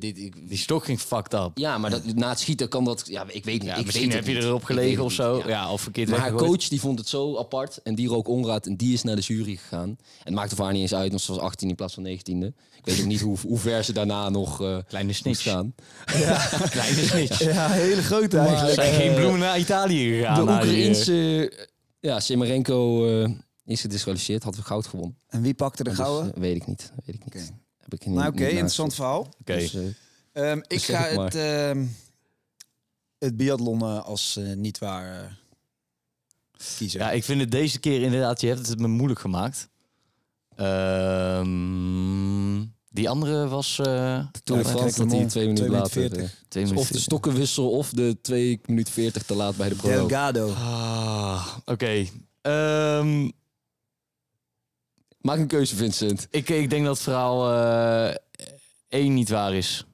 Speaker 3: dit, ik-
Speaker 2: Die stok ging fucked up.
Speaker 3: ja maar dat, na het schieten kan dat, ja, ik weet niet.
Speaker 2: Ja,
Speaker 3: ik
Speaker 2: misschien
Speaker 3: weet het
Speaker 2: heb je
Speaker 3: niet.
Speaker 2: erop
Speaker 3: Ik weet
Speaker 2: gelegen
Speaker 3: het
Speaker 2: of
Speaker 3: niet,
Speaker 2: zo.
Speaker 3: ja.
Speaker 2: Ja, of verkeerd
Speaker 3: Maar haar
Speaker 2: weggegooid.
Speaker 3: coach die vond het zo apart en die rook onraad en die is naar de jury gegaan. En het maakte voor haar niet eens uit, want ze was 18 in plaats van 19e. Ik weet ook niet hoe, hoe ver ze daarna nog eh
Speaker 2: Kleine
Speaker 3: moest
Speaker 2: snitch.
Speaker 3: gaan.
Speaker 2: Kleine snitch.
Speaker 1: ja, hele grote
Speaker 2: Er
Speaker 1: eigenlijk.
Speaker 2: zijn geen bloemen naar Italië gegaan.
Speaker 3: Eh, de
Speaker 2: na die, eh,
Speaker 3: Oekraïense, eh, ja, Simarenko eh, is gedisqualificeerd, had goud gewonnen.
Speaker 1: En wie pakte de
Speaker 3: Maar dus,
Speaker 1: gouden?
Speaker 3: eh, weet ik niet, weet ik niet.
Speaker 1: Oké.
Speaker 3: Heb ik
Speaker 1: Nou oké,
Speaker 3: niet
Speaker 1: interessant
Speaker 3: nagezocht.
Speaker 1: verhaal.
Speaker 2: Oké.
Speaker 3: Dus, eh,
Speaker 1: Ehm, ik
Speaker 3: zeg
Speaker 1: ga
Speaker 3: het maar.
Speaker 1: het, ehm, het biathlon eh, als eh, niet waar eh, kiezen.
Speaker 2: Ja, ik vind het deze keer inderdaad, je hebt het me moeilijk gemaakt. Ehm, die andere was... eh
Speaker 3: Toen de
Speaker 1: Ja,
Speaker 3: France
Speaker 1: kijk,
Speaker 3: dat hij
Speaker 1: Lemon,
Speaker 3: twee minuten
Speaker 1: 2 minuten
Speaker 3: later...
Speaker 1: 40.
Speaker 3: eh,
Speaker 2: twee
Speaker 3: Of
Speaker 2: minuten.
Speaker 3: de stokkenwissel of de 2 minuten 40 te laat bij de proloog.
Speaker 1: Delgado.
Speaker 2: Ah, Oké. Ehm,
Speaker 3: Maak een keuze, Vincent.
Speaker 2: ik, ik denk dat het verhaal eh, één niet waar is.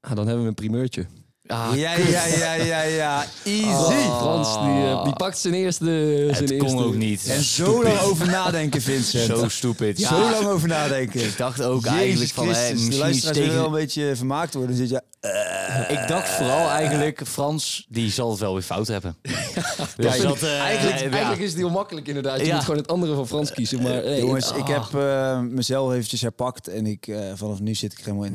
Speaker 3: Ah, dan hebben we een primeurtje.
Speaker 2: Ah,
Speaker 1: Ja, ja, ja, ja, ja. Easy.
Speaker 2: Ah.
Speaker 3: Frans, die, eh, die pakt zijn eerste... zijn
Speaker 2: het kon
Speaker 3: eerste-
Speaker 2: ook niet.
Speaker 1: En zo lang over nadenken, Vincent.
Speaker 2: Zo stupid. Ja,
Speaker 1: Zo lang over nadenken.
Speaker 2: Ik dacht ook
Speaker 1: Jezus
Speaker 2: eigenlijk van... hè,
Speaker 1: Christus, de
Speaker 2: misschien
Speaker 1: luisteraars
Speaker 2: steken-
Speaker 1: willen wel een beetje vermaakt worden. Dus Dan zit je,
Speaker 2: Ik dacht vooral eigenlijk, Frans, die zal het wel weer fout hebben. Dus
Speaker 3: Ja,
Speaker 2: dat, eh,
Speaker 3: Eigenlijk,
Speaker 2: ja.
Speaker 3: eigenlijk is het heel makkelijk inderdaad. Je
Speaker 2: Ja.
Speaker 3: moet gewoon het andere van Frans kiezen. Maar eh,
Speaker 2: ah.
Speaker 1: jongens, ik heb eh, mezelf eventjes herpakt en ik, eh, vanaf nu zit ik er helemaal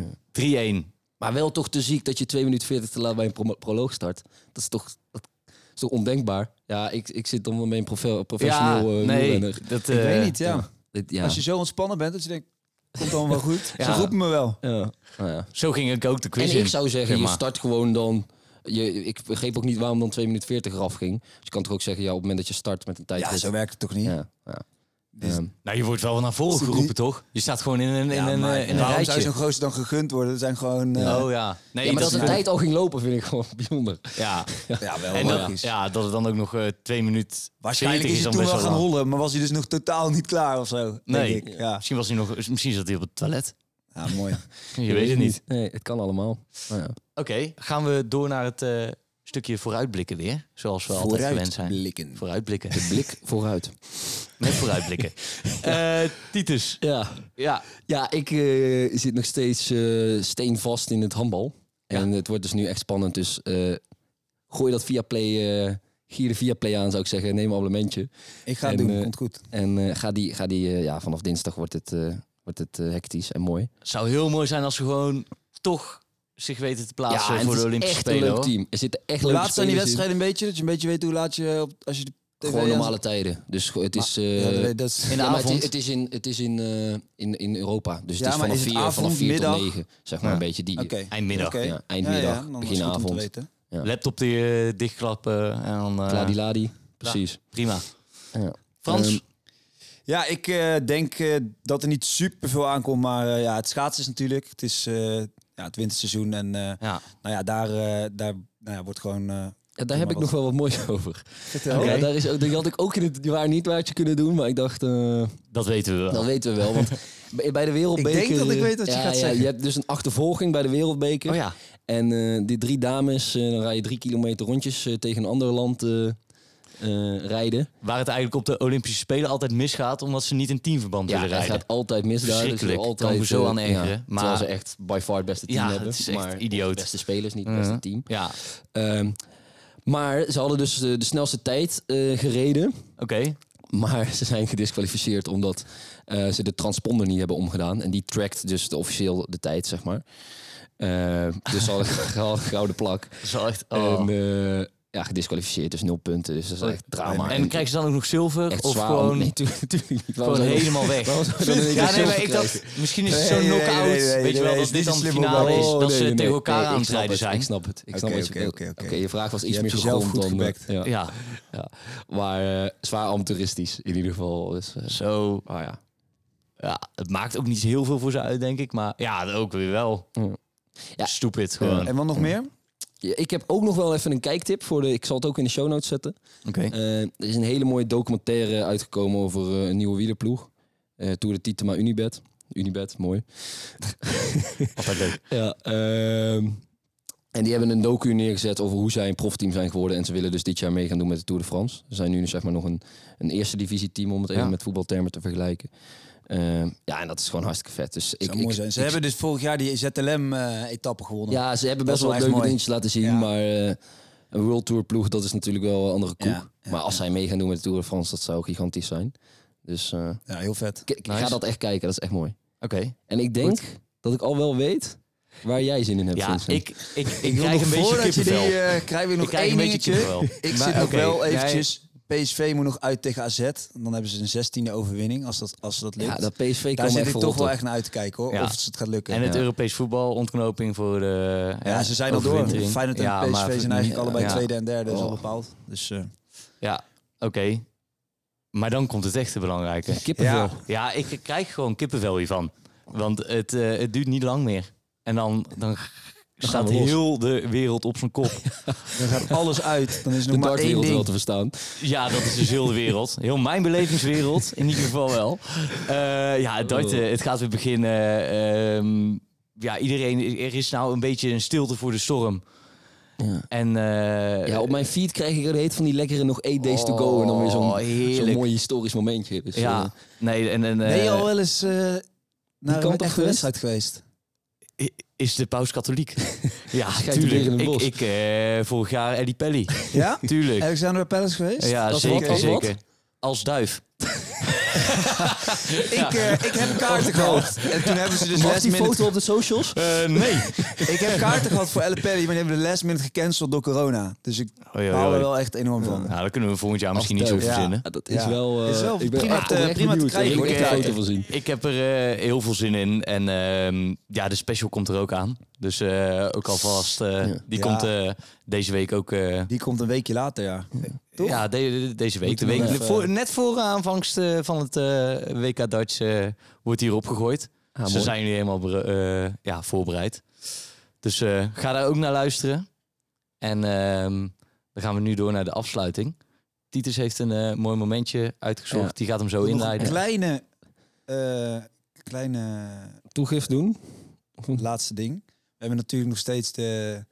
Speaker 1: in.
Speaker 2: 3-1.
Speaker 3: Maar wel toch te ziek dat je 2 minuten 40 te laat bij een pro- proloog start. Dat is toch, dat is toch ondenkbaar? Ja, ik, ik zit dan wel met een profe- professioneel eh,
Speaker 2: nee,
Speaker 3: wielrenner.
Speaker 2: dat,
Speaker 1: ik
Speaker 2: eh,
Speaker 1: weet niet, ja.
Speaker 3: Dit- ja.
Speaker 1: Als je zo ontspannen bent, dat je denkt, komt allemaal wel goed.
Speaker 2: Ja.
Speaker 1: Ze roepen me wel.
Speaker 3: ja. Nou ja.
Speaker 2: Zo ging ik ook de quiz
Speaker 3: En
Speaker 2: in.
Speaker 3: ik zou zeggen,
Speaker 2: zeg
Speaker 3: je
Speaker 2: maar.
Speaker 3: start gewoon dan... Je, ik begreep ook niet waarom dan 2 minuten 40 eraf ging. Dus je kan toch ook zeggen, ja, op het moment dat je start met een tijd...
Speaker 1: Ja, zo werkt het toch niet?
Speaker 3: ja, ja.
Speaker 1: Dus-
Speaker 3: Ehm,
Speaker 2: Nou, je wordt wel naar voren
Speaker 1: Zie-
Speaker 2: geroepen, toch? Je staat gewoon in een, in
Speaker 1: Ja,
Speaker 2: een,
Speaker 1: maar
Speaker 2: eh, in een
Speaker 1: waarom zou zo'n
Speaker 2: rijtje.
Speaker 1: gozer dan gegund worden? Dat zijn gewoon... eh,
Speaker 2: oh ja. Nee,
Speaker 3: ja, maar dat de
Speaker 2: is
Speaker 3: tijd al ging lopen vind ik gewoon bijzonder.
Speaker 2: Ja.
Speaker 1: Ja, wel
Speaker 2: En dat,
Speaker 1: Oh, logisch.
Speaker 2: ja, dat het dan ook nog eh, twee minuten...
Speaker 1: Waarschijnlijk
Speaker 2: 40
Speaker 1: is hij
Speaker 2: dan
Speaker 1: toen
Speaker 2: best
Speaker 1: wel gaan
Speaker 2: lang.
Speaker 1: hollen, maar was hij dus nog totaal niet klaar of zo?
Speaker 2: Nee.
Speaker 1: Denk ik. Ja.
Speaker 2: Ah, Misschien, was hij nog, misschien zat hij op het toilet.
Speaker 1: ja, mooi.
Speaker 2: Je, weet het niet.
Speaker 3: Nee, het kan allemaal. Nou ja.
Speaker 2: Oké, gaan we door naar het eh, stukje vooruitblikken weer. Zoals we altijd gewend zijn.
Speaker 1: Vooruitblikken.
Speaker 2: Vooruitblikken.
Speaker 3: Blik vooruit.
Speaker 2: Met vooruitblikken. Eh, Titus.
Speaker 3: Ja,
Speaker 2: Ja.
Speaker 3: ja ik eh, zit nog steeds eh, steenvast in het handbal. En het wordt dus nu echt spannend. Dus eh, gooi dat via play, eh gier de via play aan zou ik zeggen. Neem een abonnementje.
Speaker 1: Ik ga het
Speaker 3: En,
Speaker 1: doen,
Speaker 3: eh,
Speaker 1: komt goed.
Speaker 3: En eh, ga die, ga die eh, ja, vanaf dinsdag wordt het, eh, wordt het eh, hectisch en mooi.
Speaker 2: Het zou heel mooi zijn als ze gewoon toch zich weten te plaatsen
Speaker 3: en
Speaker 2: voor de
Speaker 3: het is
Speaker 2: Olympische
Speaker 3: echt een
Speaker 2: Spelen.
Speaker 3: leuk
Speaker 2: hoor.
Speaker 3: team. Er zitten echt
Speaker 1: Hoe
Speaker 3: leuke
Speaker 1: laat zijn die
Speaker 3: spelers in.
Speaker 1: wedstrijden een beetje? Dat je een beetje weet hoe laat je... op- Als je de TV
Speaker 3: Gewoon
Speaker 1: aan-
Speaker 3: normale tijden. Dus go- het is... eh,
Speaker 1: Ja, dat weet- dat is-
Speaker 2: In de
Speaker 3: ja, maar het
Speaker 2: avond.
Speaker 3: is, het is in, het is in, eh, in, in Europa. Dus
Speaker 1: Ja,
Speaker 3: het is
Speaker 1: maar
Speaker 3: vanaf
Speaker 1: is het
Speaker 3: 4
Speaker 1: avond,
Speaker 3: vanaf vier tot
Speaker 1: middag?
Speaker 3: 9. Zeg maar
Speaker 2: Ja.
Speaker 3: een beetje die...
Speaker 1: Oké.
Speaker 2: Eindmiddag.
Speaker 1: Oké.
Speaker 3: Ja, eindmiddag,
Speaker 1: dan is het goed om
Speaker 3: beginavond.
Speaker 1: te weten.
Speaker 3: Ja.
Speaker 2: Laptop die, eh, dichtklappen en dan eh,
Speaker 3: Ladi-ladi. Precies.
Speaker 2: prima.
Speaker 3: Ja.
Speaker 2: Frans,
Speaker 3: Ehm,
Speaker 1: Ja, ik eh, denk eh, dat er niet super veel aankomt, maar eh, ja, het schaatsen is natuurlijk. Het is eh, ja, het winterseizoen en eh,
Speaker 2: ja.
Speaker 1: nou ja, daar, eh, daar nou ja, wordt gewoon. eh,
Speaker 3: Ja, daar heb ik nog wel wat moois over.
Speaker 1: vertel.
Speaker 2: Oké.
Speaker 3: Ja, daar is ook, die had ik ook in het waar niet waardje kunnen doen, maar ik dacht, eh,
Speaker 2: dat weten we wel.
Speaker 3: dat weten we wel. Want bij- bij de wereldbeker...
Speaker 1: Ik denk dat ik weet wat je
Speaker 3: ja,
Speaker 1: gaat
Speaker 3: ja,
Speaker 1: zeggen.
Speaker 3: Je hebt dus een achtervolging bij de wereldbeker.
Speaker 2: Oh ja,
Speaker 3: En eh, die drie dames, eh, dan rij je drie kilometer rondjes eh, tegen een ander land eh, eh, rijden.
Speaker 2: waar het eigenlijk op de Olympische Spelen altijd misgaat, omdat ze niet in teamverband
Speaker 3: Ja,
Speaker 2: willen
Speaker 3: het
Speaker 2: rijden.
Speaker 3: Dus gaat altijd mis daar. Dus
Speaker 2: Verschrikkelijk.
Speaker 3: altijd,
Speaker 2: Kan me zo
Speaker 3: eh,
Speaker 2: aan ergeren, maar-
Speaker 3: Terwijl ze echt by far het beste team
Speaker 2: Ja,
Speaker 3: hebben.
Speaker 2: het is echt
Speaker 3: maar,
Speaker 2: idioot.
Speaker 3: of beste spelers, niet het beste
Speaker 2: Mhm.
Speaker 3: team.
Speaker 2: Ja,
Speaker 3: Ehm, maar ze hadden dus eh, de, snelste tijd eh, gereden.
Speaker 2: oké.
Speaker 3: Maar ze zijn gedisqualificeerd omdat eh, ze de transponder niet hebben omgedaan. En die trackt dus de officieel de tijd, zeg maar. Eh, dus ze hadden een gouden plak.
Speaker 2: Dat is wel echt... oh.
Speaker 3: En eh, ja, gedisqualificeerd, dus nul punten. Dus dat is echt drama.
Speaker 2: en krijgen ze dan ook nog zilver?
Speaker 3: echt
Speaker 2: of
Speaker 3: zwaar.
Speaker 2: gewoon,
Speaker 3: Nee, tuurlijk- natuurlijk niet. Waarom
Speaker 2: gewoon
Speaker 3: zou je dat-
Speaker 2: helemaal weg?
Speaker 3: waarom zou je dan in één
Speaker 2: Ja,
Speaker 3: keer
Speaker 2: nee,
Speaker 3: zilver
Speaker 2: maar ik dacht,
Speaker 3: krijgen?
Speaker 2: misschien is het
Speaker 1: Nee,
Speaker 2: zo'n
Speaker 1: nee, nee,
Speaker 2: knock-out.
Speaker 1: nee, nee,
Speaker 2: Weet je wel,
Speaker 1: nee, is
Speaker 2: dat
Speaker 1: niet
Speaker 2: dit dan
Speaker 1: zo
Speaker 2: de
Speaker 1: slim
Speaker 2: finale
Speaker 1: opbouwen.
Speaker 2: is,
Speaker 1: Oh,
Speaker 2: dat
Speaker 1: nee,
Speaker 2: ze
Speaker 1: nee,
Speaker 2: tegen
Speaker 1: nee.
Speaker 2: elkaar
Speaker 3: Nee,
Speaker 2: aan
Speaker 3: ik
Speaker 2: het
Speaker 3: snap
Speaker 2: rijden
Speaker 3: het,
Speaker 2: zijn.
Speaker 3: Ik snap het. Ik
Speaker 1: Oké,
Speaker 3: snap wat je
Speaker 1: oké,
Speaker 3: bedoelt.
Speaker 1: oké, oké.
Speaker 3: je vraag was iets
Speaker 1: Je
Speaker 3: meer
Speaker 1: hebt jezelf
Speaker 3: gegrond
Speaker 1: goed
Speaker 3: dan... eh,
Speaker 1: gebackt.
Speaker 3: Ja.
Speaker 2: Ja,
Speaker 3: Ja. Maar eh, zwaar amateuristisch in ieder geval. Dus, eh,
Speaker 2: zo.
Speaker 1: Oh,
Speaker 3: ah ja.
Speaker 2: Ja, het maakt ook niet heel veel voor ze uit, denk ik. Maar ja, ook weer wel.
Speaker 3: Ja.
Speaker 2: Stupid gewoon.
Speaker 1: En wat nog meer?
Speaker 3: Ja, Ik heb ook nog wel even een kijktip voor de. Ik zal het ook in de show notes zetten.
Speaker 2: Oké.
Speaker 3: Eh, er is een hele mooie documentaire uitgekomen over eh, een nieuwe wielerploeg. Eh Tour de Titema Unibet. Unibet, mooi.
Speaker 2: Altijd leuk.
Speaker 3: Ja, ehm, en die hebben een docu neergezet over hoe zij een profteam zijn geworden. En ze willen dus dit jaar mee gaan doen met de Tour de France. Ze zijn nu dus zeg maar nog een, een eerste divisie team, om het even
Speaker 2: Ja.
Speaker 3: met voetbaltermen te vergelijken. Ehm, ja, en dat is gewoon hartstikke vet. Dus ik,
Speaker 1: Zou mooi
Speaker 3: ik-
Speaker 1: zijn. Ze
Speaker 3: ik-
Speaker 1: hebben dus vorig jaar die ZLM-etappe eh, gewonnen.
Speaker 3: ja, ze hebben
Speaker 1: Dat
Speaker 3: best
Speaker 1: is wel
Speaker 3: wel wat
Speaker 1: echt
Speaker 3: leuke
Speaker 1: mooi.
Speaker 3: dingetjes laten zien.
Speaker 1: Ja.
Speaker 3: Maar eh, een World Tour ploeg, dat is natuurlijk wel een andere koek.
Speaker 1: Ja, ja,
Speaker 3: maar als
Speaker 1: ja.
Speaker 3: zij mee gaan doen met de Tour de France, dat zou gigantisch zijn. Dus eh,
Speaker 1: Ja, heel vet.
Speaker 3: ik- ik ga
Speaker 2: Nice.
Speaker 3: dat echt kijken, dat is echt mooi.
Speaker 2: Oké.
Speaker 3: En ik denk dat ik al wel weet waar jij zin in hebt,
Speaker 2: Ja,
Speaker 3: Vincent.
Speaker 2: ik, ik, ik krijg een beetje
Speaker 1: voordat je die,
Speaker 2: kippenvel.
Speaker 1: eh, krijg je
Speaker 2: Ik
Speaker 1: nog
Speaker 2: krijg
Speaker 1: één
Speaker 2: een
Speaker 1: dingetje.
Speaker 2: beetje kippenvel.
Speaker 1: Ik
Speaker 2: Maar
Speaker 1: zit nog
Speaker 2: oké,
Speaker 1: wel
Speaker 2: jij-
Speaker 1: eventjes. PSV moet nog uit tegen AZ. Dan hebben ze een 16e overwinning als dat, als dat lukt.
Speaker 3: Ja, dat PSV
Speaker 1: Daar
Speaker 3: kan
Speaker 1: zit
Speaker 3: echt
Speaker 1: ik
Speaker 3: wel
Speaker 1: toch
Speaker 3: rot
Speaker 1: wel
Speaker 3: op.
Speaker 1: echt naar uit te kijken hoor.
Speaker 2: Ja.
Speaker 1: Of het gaat lukken.
Speaker 2: En het
Speaker 1: ja.
Speaker 2: Europees voetbal, ontknoping voor de...
Speaker 1: Ja, ze zijn al door.
Speaker 2: overwintering.
Speaker 1: Feyenoord en
Speaker 2: Ja,
Speaker 1: PSV
Speaker 2: maar-
Speaker 1: zijn eigenlijk allebei
Speaker 2: ja.
Speaker 1: tweede en derde. is al
Speaker 3: Oh.
Speaker 1: bepaald. Dus, eh,
Speaker 2: Ja, oké. Maar dan komt het echte belangrijke.
Speaker 3: Kippenvel.
Speaker 1: Ja.
Speaker 2: Ja, ik krijg gewoon kippenvel hiervan. Want het, eh, het duurt niet lang meer. En dan, dan staat
Speaker 3: we los.
Speaker 2: heel de wereld op zijn kop.
Speaker 1: dan gaat alles uit. Dan is er
Speaker 3: De
Speaker 1: nog maar één
Speaker 3: dartwereld wel
Speaker 1: ding.
Speaker 3: te verstaan.
Speaker 2: Ja, dat is dus heel de wereld. Heel mijn belevingswereld, in ieder geval wel. Eh, ja, het, darten, het gaat weer beginnen. Ehm, ja, iedereen, er is nou een beetje een stilte voor de storm.
Speaker 3: Ja.
Speaker 2: En, eh,
Speaker 3: Ja, op mijn feed krijg ik er heet van die lekkere nog 8 days to go. En dan weer
Speaker 2: Oh,
Speaker 3: zo'n zo'n
Speaker 2: heerlijk.
Speaker 3: mooi historisch momentje. Dus, eh,
Speaker 2: ja, nee, en, en,
Speaker 1: Ben je
Speaker 2: eh,
Speaker 1: al wel eens eh, naar
Speaker 3: kant
Speaker 1: een
Speaker 3: op
Speaker 1: echte
Speaker 3: geweest?
Speaker 1: wedstrijd geweest?
Speaker 2: I- Is de paus katholiek? ja,
Speaker 3: Schijnt
Speaker 2: tuurlijk.
Speaker 3: hier in het
Speaker 2: Ik,
Speaker 3: bos.
Speaker 2: ik eh, vorig jaar Eddie Pelly.
Speaker 1: Ja?
Speaker 2: Tuurlijk.
Speaker 1: Alexander Palace geweest?
Speaker 2: Ja,
Speaker 3: Als
Speaker 2: zeker,
Speaker 3: wat, als wat?
Speaker 2: zeker. Als duif.
Speaker 1: Ik, eh, ik heb kaarten gehad. En toen hebben ze dus
Speaker 3: Mag
Speaker 1: last
Speaker 3: die
Speaker 1: minute...
Speaker 3: foto op de socials?
Speaker 2: Eh, nee.
Speaker 1: Ik heb kaarten gehad voor Elle Pelli, maar die hebben de last minute gecanceld door corona. Dus ik
Speaker 2: Oei, oei,
Speaker 1: hou er
Speaker 2: oei.
Speaker 1: wel echt enorm van.
Speaker 2: Nou, daar kunnen we volgend jaar misschien
Speaker 3: Als
Speaker 2: iets over
Speaker 1: duif.
Speaker 2: verzinnen.
Speaker 3: Ja, dat is
Speaker 1: Ja.
Speaker 3: wel... eh,
Speaker 1: Is wel
Speaker 3: ik ben
Speaker 1: prima
Speaker 3: echt
Speaker 1: te-
Speaker 3: oprecht
Speaker 1: prima te
Speaker 3: benieuwd.
Speaker 1: krijgen.
Speaker 3: Ik wil
Speaker 2: Ik,
Speaker 3: echt een
Speaker 2: eh,
Speaker 3: foto van zien.
Speaker 2: Ik heb er eh, heel veel zin in. En ehm, ja, de special komt er ook aan. Dus eh, ook alvast. eh,
Speaker 3: Ja.
Speaker 2: Die
Speaker 1: Ja.
Speaker 2: komt eh, deze week ook. eh,
Speaker 1: Die komt een weekje later, ja. toch?
Speaker 2: ja, de- de- deze week.
Speaker 1: Moeten
Speaker 2: De
Speaker 1: we
Speaker 2: week
Speaker 1: nog even-
Speaker 2: voor, net voor aanvangst eh, van het eh, WK Dutch eh, wordt hier opgegooid.
Speaker 3: Ah,
Speaker 2: Ze
Speaker 3: mooi.
Speaker 2: zijn nu helemaal bere- eh, ja, voorbereid. Dus eh, ga daar ook naar luisteren. En ehm, dan gaan we nu door naar de afsluiting. Titus heeft een eh, mooi momentje uitgezocht.
Speaker 3: Ja.
Speaker 2: Die gaat hem zo
Speaker 1: Nog een
Speaker 2: inleiden.
Speaker 1: kleine, eh, kleine
Speaker 3: Toegift doen?
Speaker 1: laatste ding. We hebben natuurlijk nog steeds de,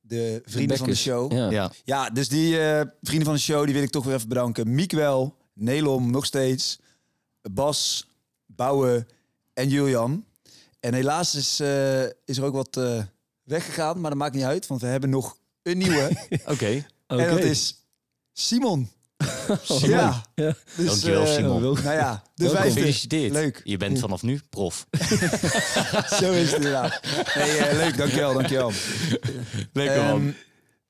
Speaker 1: de vrienden van de
Speaker 3: Bekkers.
Speaker 1: show.
Speaker 3: Ja.
Speaker 2: Ja.
Speaker 1: Ja, dus die eh, vrienden van de show, die wil ik toch weer even bedanken. Miek wel, Nelom nog steeds, Bas, Bouwe en Julian. En helaas is, eh, is er ook wat eh, weggegaan, maar dat maakt niet uit, want we hebben nog een nieuwe.
Speaker 2: Oké.
Speaker 1: En dat is Simon.
Speaker 3: Simon.
Speaker 1: Ja.
Speaker 3: Ja.
Speaker 1: Dus,
Speaker 2: Dankjewel,
Speaker 1: eh,
Speaker 2: Simon.
Speaker 1: Nou ja, de
Speaker 3: Welkom.
Speaker 1: vijfde.
Speaker 2: Gefeliciteerd.
Speaker 1: Leuk.
Speaker 2: Je bent vanaf nu prof.
Speaker 1: Zo is het inderdaad. Nee, eh, leuk, dankjewel, dankjewel.
Speaker 2: Leuk
Speaker 1: Ehm,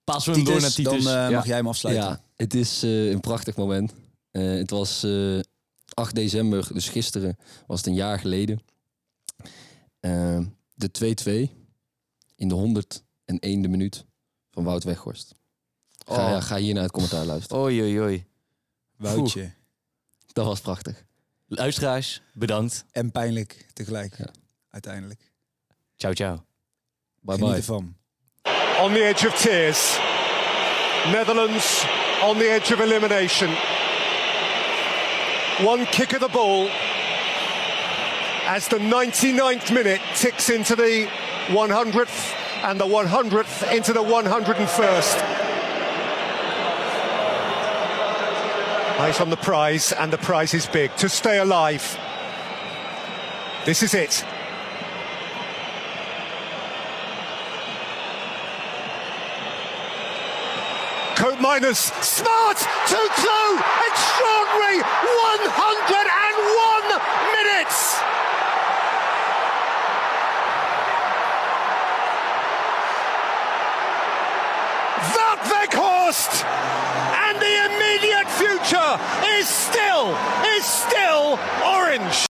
Speaker 2: Pas we hem door naar
Speaker 1: Titus, dan
Speaker 2: Titus.
Speaker 1: eh,
Speaker 2: Ja.
Speaker 1: mag jij hem afsluiten.
Speaker 3: Ja, het is eh, een prachtig moment. Eh, het was eh, 8 december, dus gisteren was het een jaar geleden. Eh, de 2-2 in de 101e minuut van Wout Weghorst. Ga,
Speaker 2: Oh.
Speaker 3: ja, ga hier naar het commentaar luisteren.
Speaker 2: Oei, oei, oei.
Speaker 1: Woutje.
Speaker 3: Dat was prachtig.
Speaker 2: Luisteraars, bedankt.
Speaker 1: En pijnlijk tegelijk.
Speaker 3: Ja.
Speaker 1: Uiteindelijk.
Speaker 2: Ciao, ciao.
Speaker 3: Bye
Speaker 1: Geniet
Speaker 3: bye.
Speaker 1: ervan.
Speaker 4: on the edge of tears. Netherlands on the edge of elimination. One kick of the ball as the 99th minute ticks into the 100th and the 100th into the 101st. Eyes on the prize, and the prize is big to stay alive. This is it. Coat Miners, smart, Tutsu, extraordinary, 101 minutes. That Weghorst and the immediate future is still, is still orange.